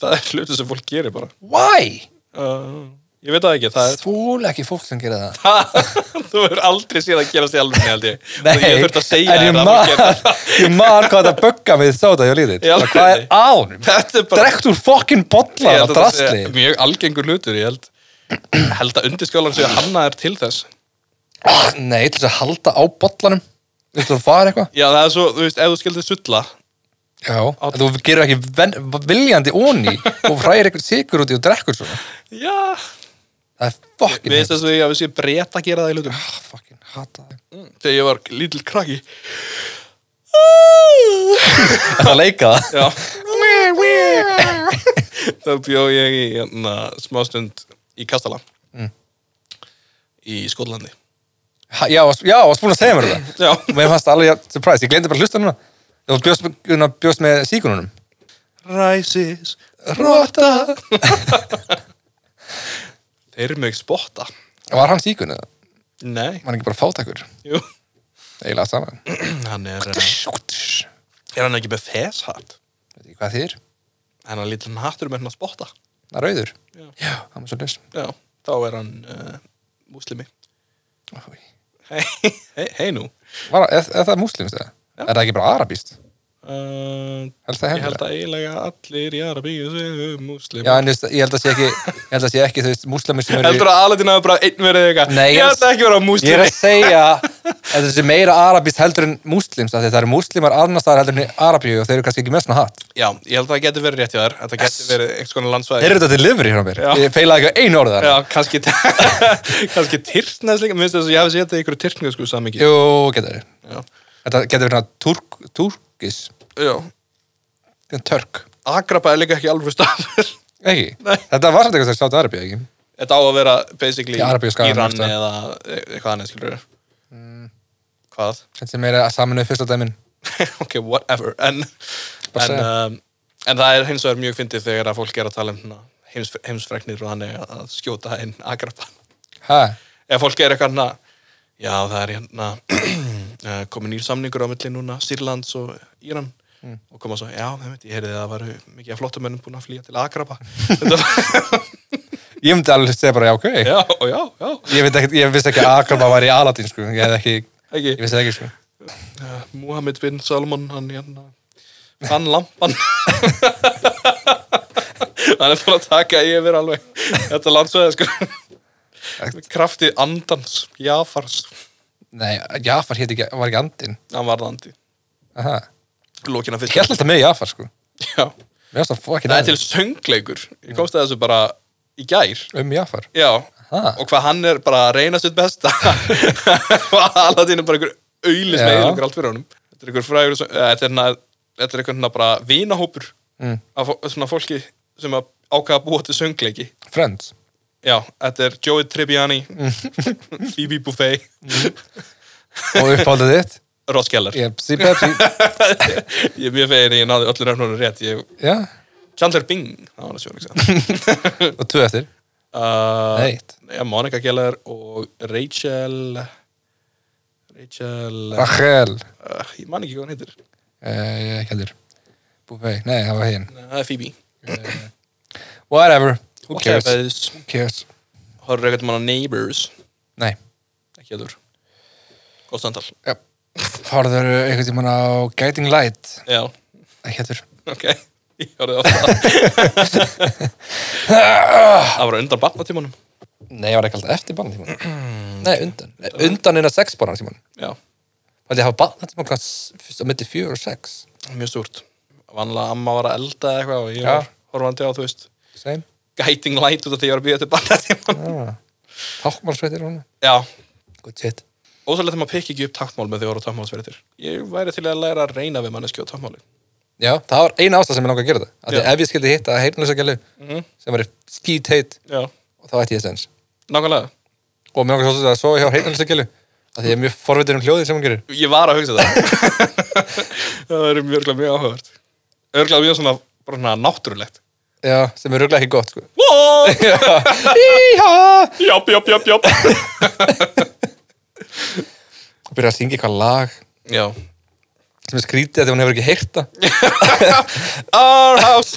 S2: Það er hlutu sem fólk gerir bara.
S1: Why?
S2: Uh, ég veit það ekki, það er...
S1: Þúlega ekki fólk sem gera það.
S2: þú hefur aldrei séð að gerast í alveg held ég
S1: Nei,
S2: ég þurft að segja
S1: en
S2: þér
S1: ég
S2: að fólk gerir það.
S1: man, ég man hvað þetta bögga mig þátt að ég lítið.
S2: Í alvöru?
S1: Hvað er án?
S2: þetta er bara
S1: Drekt úr fokkin
S2: Ég
S1: bollar
S2: held
S1: og
S2: að það sé
S1: drastli.
S2: mjög algengur hlutur ég held, Ég held að undirskálan séu hannaðar til þess
S1: Ah, Nei, til þess að halda á bollanum. Þú veist að fara eitthvað.
S2: já það er svo, þú veist, ef þú skildir sulla
S1: Já, en þú gerur ekki ven, viljandi óni og fræðir eitthvað sigur út í og drekkur svona.
S2: já,
S1: Það er fokkin
S2: við veist þess að ég hafi séð breyta að gera það í hlutum
S1: Ah, fucking hata það.
S2: Mm. þegar ég var lítill krakki
S1: Það að leika það.
S2: já, þá bjó ég í na, smástund í Kastala í Skotlandi
S1: Ha- Já, varst- já, varst búin að segja mér það.
S2: já,
S1: Og mér fannst það alveg jafn surprise. Ég glemdi bara að hlusta núna. Þú bjóst, Una, bjóst með síkununum.
S2: Rises
S1: Róta.
S2: Þeir eru mjög spotta.
S1: Var hann síkun eða?
S2: Nei.
S1: Var hann ekki bara fátækur?
S2: Jú.
S1: Eiginlega saman.
S2: Hann er, eh,
S1: Veit
S2: er hann ekki með feshatt?
S1: ekki hvað þýr?
S2: Hann er lítið hattur með hann að spotta.
S1: Það er rauður.
S2: Já.
S1: Já, hann var svo laus.
S2: Já, þá er hann uh, múslimi.
S1: Ói.
S2: Hei, hei, hei nú.
S1: Var, er, er það múslimst eða?
S2: Já.
S1: Er það ekki bara arabist?
S2: Uh,
S1: Held það
S2: ég
S1: hefnilega?
S2: held að eiginlega allir í Arabíu séu múslimi.
S1: Já, en þú veist, ég held að sé ekki, ég held að sé ekki, þú veist, múslimir sem eru...
S2: Heldur að alveg hafa bara einn verið eitthvað.
S1: Nei,
S2: ég
S1: ég-
S2: held ekki vera
S1: Ég er
S2: múslimi.
S1: að segja að þessi meira arabist heldur en múslims, af því það eru múslimar annars staðar heldur en í arabíu og þeir eru kannski ekki með svona hatt.
S2: Já, ég held að það getur verið rétt hjá þér. Þetta getur verið einhvers konar landsvæði.
S1: Þeir eru þetta delivery frá mér.
S2: Já.
S1: Ég feilaði ekki á einu orðu þar.
S2: Já, kannski, kannski tyrknes líka. Mér finnst þess að ég hafi setið ykkur tyrknes sko samingi.
S1: Jú, getur þeir.
S2: Já.
S1: Þetta getur verið svona turk, turkis,
S2: Já.
S1: törk.
S2: Agrapa er líka ekki alveg stafur
S1: Ekki?
S2: Nei.
S1: Þetta var samt eitthvað sem sátt arabíu, ekki?
S2: Þetta á að vera basically
S1: Í Arabíu skaganum,
S2: Íran
S1: sko.
S2: eða e- eitthvað annað skilur mm. Hvað?
S1: Þetta er meira að saminuðu fyrsta dæmin.
S2: ok, whatever En,
S1: Bara
S2: en,
S1: segja.
S2: um, en það er hins vegar mjög fyndið þegar að fólk er að tala um svona heims, heimsfreknir og þannig að að skjóta inn agrapa
S1: Hæ?
S2: Ef fólk er eitthvað hana Já, það er hérna eh, komin nýr samningur á milli núna Sýrlands og Íran og koma svo, já, það veit, ég heyrði að það varu mikið af flottamönnum búin að flýja til Agrapa Þetta var,
S1: Ég myndi alveg segja bara, já, ok.
S2: já, og já, já
S1: Ég, veit ekki, ég vissi ekki að Akraba var í Aladin, sko. Ég, hef ekki,
S2: Ekki?
S1: ég vissi það ekki, sko.
S2: uh, Muhammed bin Salman hann hérna fann lampan hann er búin að taka yfir alveg þetta landsvæði sko Með krafti andans, jafars
S1: Nei, Jafar hét ekki, var ekki andin.
S2: hann var andi,
S1: Aha.
S2: lókin að
S1: Ég held
S2: fyrst
S1: alltaf með Jafar, sko.
S2: já,
S1: Mér finnst það fokkin
S2: það er til söngleikur ég komst að þessu bara í gær
S1: um Jafar.
S2: já,
S1: Ha?
S2: og hvað hann er bara að reyna sitt besta og Aladin er bara einhver auðlis
S1: Já.
S2: með einhver allt fyrir honum þetta er einhver frægur sem- eh, þetta er hérna- þetta er einhver hérna bara vinahópur
S1: Mm.
S2: af fó- svona fólki sem að ákvaða að búa til söngleiki
S1: Friends.
S2: já, þetta er Joey Tribbiani Phoebe Buffay
S1: Og uppáldið þitt.
S2: Ross Geller
S1: Ég sí, Pepsi.
S2: ég er mjög fegin að ég náði öllu nöfnunum rétt ég,
S1: Já.
S2: Chandler Bing það var það sjónleiksa
S1: Og tvö eftir.
S2: uh,
S1: Eitt.
S2: já, Monica Geller og Rachel Rachel uh,
S1: Rachel.
S2: ég man ekki hvað hann heitir
S1: Eh, Ég ekki heldur. Buffet. Nei, það var hinn.
S2: Nei, það er Phoebe
S1: Whatever. Who cares? Who
S2: Whatever.
S1: cares?
S2: horfður ekkert mann á Neighbors
S1: Nei.
S2: ekki heldur gott samtal
S1: Já. Farður einhvern tímann á Guiding Light.
S2: já,
S1: Ekki heldur.
S2: ok ég horfði ofta á það það var undan barnatímanum
S1: Nei, ég var ekki alltaf eftir barnatímann. Nei, undan. Nei, Undan innan sex barnatímann.
S2: já,
S1: Það ég hafa barnatímann hvað s- fyrst á milli fjör og sex.
S2: mjög stúrt vanlega amma var að elda eða eitthvað og ég
S1: Já.
S2: var horfandi á þú veist
S1: Same.
S2: guiding light út af því ég var að býja til barnatíman
S1: Mm. Tákmálsveitir hún.
S2: já,
S1: Good shit.
S2: ósælega þegar maður pikki ekki upp taktmál með því voru tákmálsverðir ég væri til að læra að reyna við manneski á tákmáli
S1: Já, það var eina ástæð sem ég langaði að gera það. Af því
S2: Já.
S1: ef ég skildi hitta heyrnlösa gælu
S2: Mhm.
S1: sem var skítheit
S2: já,
S1: og þá ætti ég sens.
S2: nákvæmlega
S1: og mér langar svolítið að sofa hjá hreinalistakjölu af því ég er mjög forvitin um hljóðið sem hún gerir
S2: Ég var að hugsa það Það er mjög, örugglega mjög áhugavert Örglega mjög svona, bara svona náttúrulegt
S1: Já, sem er röglega ekki gott sko.
S2: Wow!
S1: Íha!
S2: Jáp, jáp, jáp, jáp
S1: Og byrja að syngja eitthvað lag
S2: Já
S1: sem er skrítið að því hún hefur ekki heyrt það
S2: Our house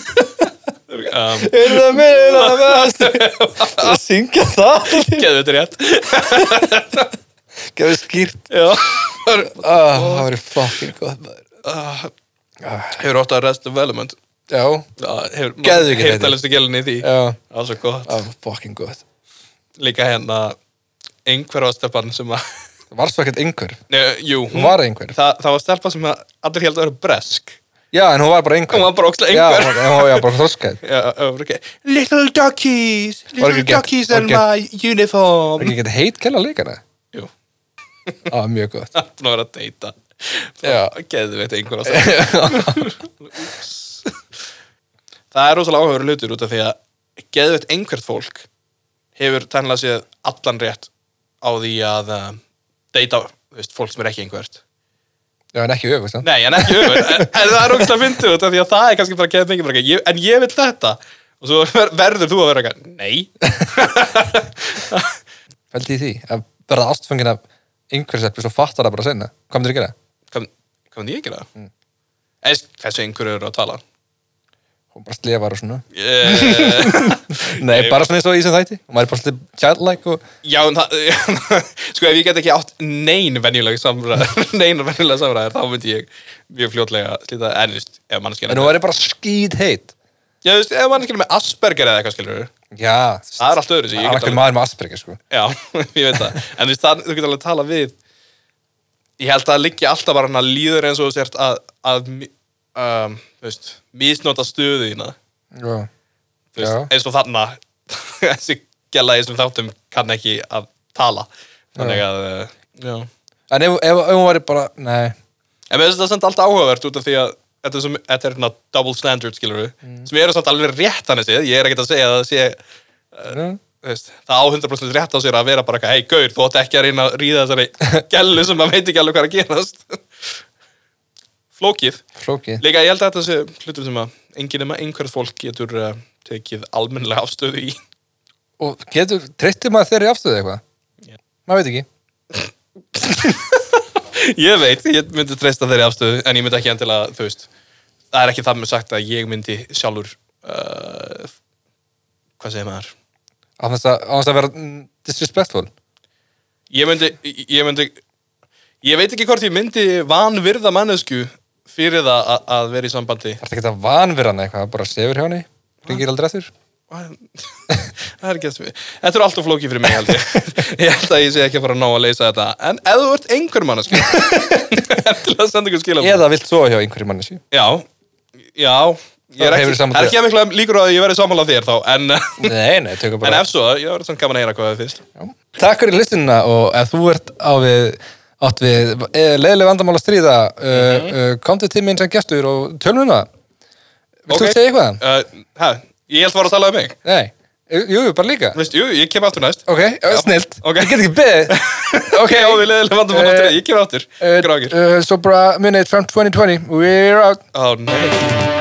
S2: um,
S1: Er það minn að best að syngja það
S2: Geðu þetta rétt
S1: Gefið skýrt
S2: Já
S1: ah, Það verið fucking gott maður.
S2: Ah, Hefur ótt að rest development
S1: Já,
S2: Já, hefur-
S1: Geðvikið
S2: heyrt
S1: þetta.
S2: að listu gælinni í því
S1: já,
S2: Það var svo gott
S1: það var fucking gott
S2: Líka hérna einhverfa stefan sem að
S1: Var svo ekkert einhver,
S2: Nei, Jú,
S1: hún var einhver
S2: það, það var stelpa sem að allir held að vera bresk
S1: Já, en hún var bara einhver
S2: Hún var bara ókslega
S1: Já,
S2: einhver.
S1: hún var- hún var bara þroskað
S2: Já, það var ekki Little duckies,
S1: Var ekki
S2: little
S1: gett,
S2: duckies
S1: var
S2: in
S1: gett.
S2: my
S1: Það
S2: uniform
S1: er ekki ekkert heit kella leikana
S2: Jú,
S1: Já, mjög gott
S2: það er búin að vera að deyta
S1: Já.
S2: Geðu veit einhverja stefan Það er rosalega áhverju hlutur út af því að geðu veit einhvert fólk hefur tænlega séð allan rétt á því að uh, deyta þú veist, fólk sem er ekki einhvert
S1: Já, en ekki öfust
S2: Nei, en ekki öfur, en, en það er ógst að fyndi út af því að það er kannski bara að geða mikið bara, ég, en ég vil þetta og svo ver- verður þú að vera eitthvað, nei
S1: Fældi í því að verða ástfengin af einhver seppi svo fattar það bara senna Hvað myndir að gera?
S2: hvað hvað myndi ég gera? Mm. Þessu einhverju eru að tala
S1: Hún bara slefar og svona
S2: Eh,
S1: Nei, bara svona eins og í sem þætti Hún var bara svolítið childlike og
S2: Já, en það sko ef ég get ekki átt nein venjuleg samræðar, nein venjuleg samræðar þá myndi ég mjög fljótlega slíta, en þú veist, ef mannskjana
S1: En hún var bara skýt heitt
S2: Já, þú veist, ef mannskjana með Asperger eða eitthvað skilur
S1: Já,
S2: það er allt öðru sem
S1: það
S2: ég
S1: er
S2: get
S1: ekki
S2: alveg
S1: maður með Asperger sko
S2: Já, ég veit það. En þú veist, það, þú getur alveg að tala við Ég held að það liggi alltaf bara hann að líður eins og þú sért að, að mi- um, þú veist, misnota stöðu þína
S1: Já,
S2: Þú veist, eins og þarna þessi gæla í þessum þáttum kann ekki að tala Þannig að, uh, já
S1: En ef, ef, ef hún var bara, nei
S2: En mér finnst það samt alltaf áhugavert út af því að þetta er, sem, þetta er hérna double standard, skilur við sem eru samt alveg rétt hann þessi Ég er ekkert að segja að það sé eh,
S1: uh,
S2: þú veist, það á 100% rétt á sér að vera bara eitthvað, hei gaur, þú átt ekki að reyna að ríða þessari gælu sem maður veit ekki alveg hvað er að gerast flókið
S1: Flókið
S2: líka ég held að þetta sé hlutur sem að enginn nema einhverjum fólk getur uh, tekið almennilega afstöðu í
S1: Og getur, treystir maður þeirri afstöðu eitthvað?
S2: Já.
S1: Maður veit ekki
S2: ég veit, ég myndi treysta þeirri afstöðu en ég myndi ekki endilega, þú veist það er ekki það með sagt að ég myndi sjálfur uh, hvað segir maður
S1: Á þess að, á þess að vera mm, disrespectful
S2: Ég myndi, ég myndi Ég veit ekki hvort ég myndi vanvirða mannesku fyrir það að, að vera í sambandi
S1: Það er ekki að vanverðan eitthvað, bara sefur hjá henni Ringir aldrei eftir
S2: Það er ekki eftir mig Þetta er alltaf flókið fyrir mig held ég Ég held að ég sé ekki að fara að ná að leysa þetta En ef þú ert einhver mannesku Til að senda ykkur skilabóð
S1: Eða vilt sofa hjá einhverju mannesju
S2: Já, já Ég er
S1: hefur
S2: ekki,
S1: þú samband
S2: það er ekki að mikla líkur á að ég verði sammála þér þá En,
S1: Nei, nei, tökum
S2: en
S1: bara
S2: ef svo, ég verði samt gaman að heyra hvað það finnst
S1: Já. Takk fyrir listunina og ef þú ert á við átt við leðileg vandamál að stríða uh, uh, komdu til minn sem gestur og tölum um það Viltu
S2: Ok.
S1: okay. segja eitthvað?
S2: uh, hæ, Ég held að fara að tala um mig
S1: Nei, jú, jú, bara líka
S2: Veist, Jú, ég kem aftur næst
S1: Ok, já, snilt,
S2: ok.
S1: ég get ekki beðið Ok,
S2: Ok, já, við leðilega vandum að
S1: Eh,
S2: náttúrulega, ég kem aftur
S1: uh,
S2: Grákir
S1: uh, Svo bara munið Trump 2020, we're out
S2: Oh, nei.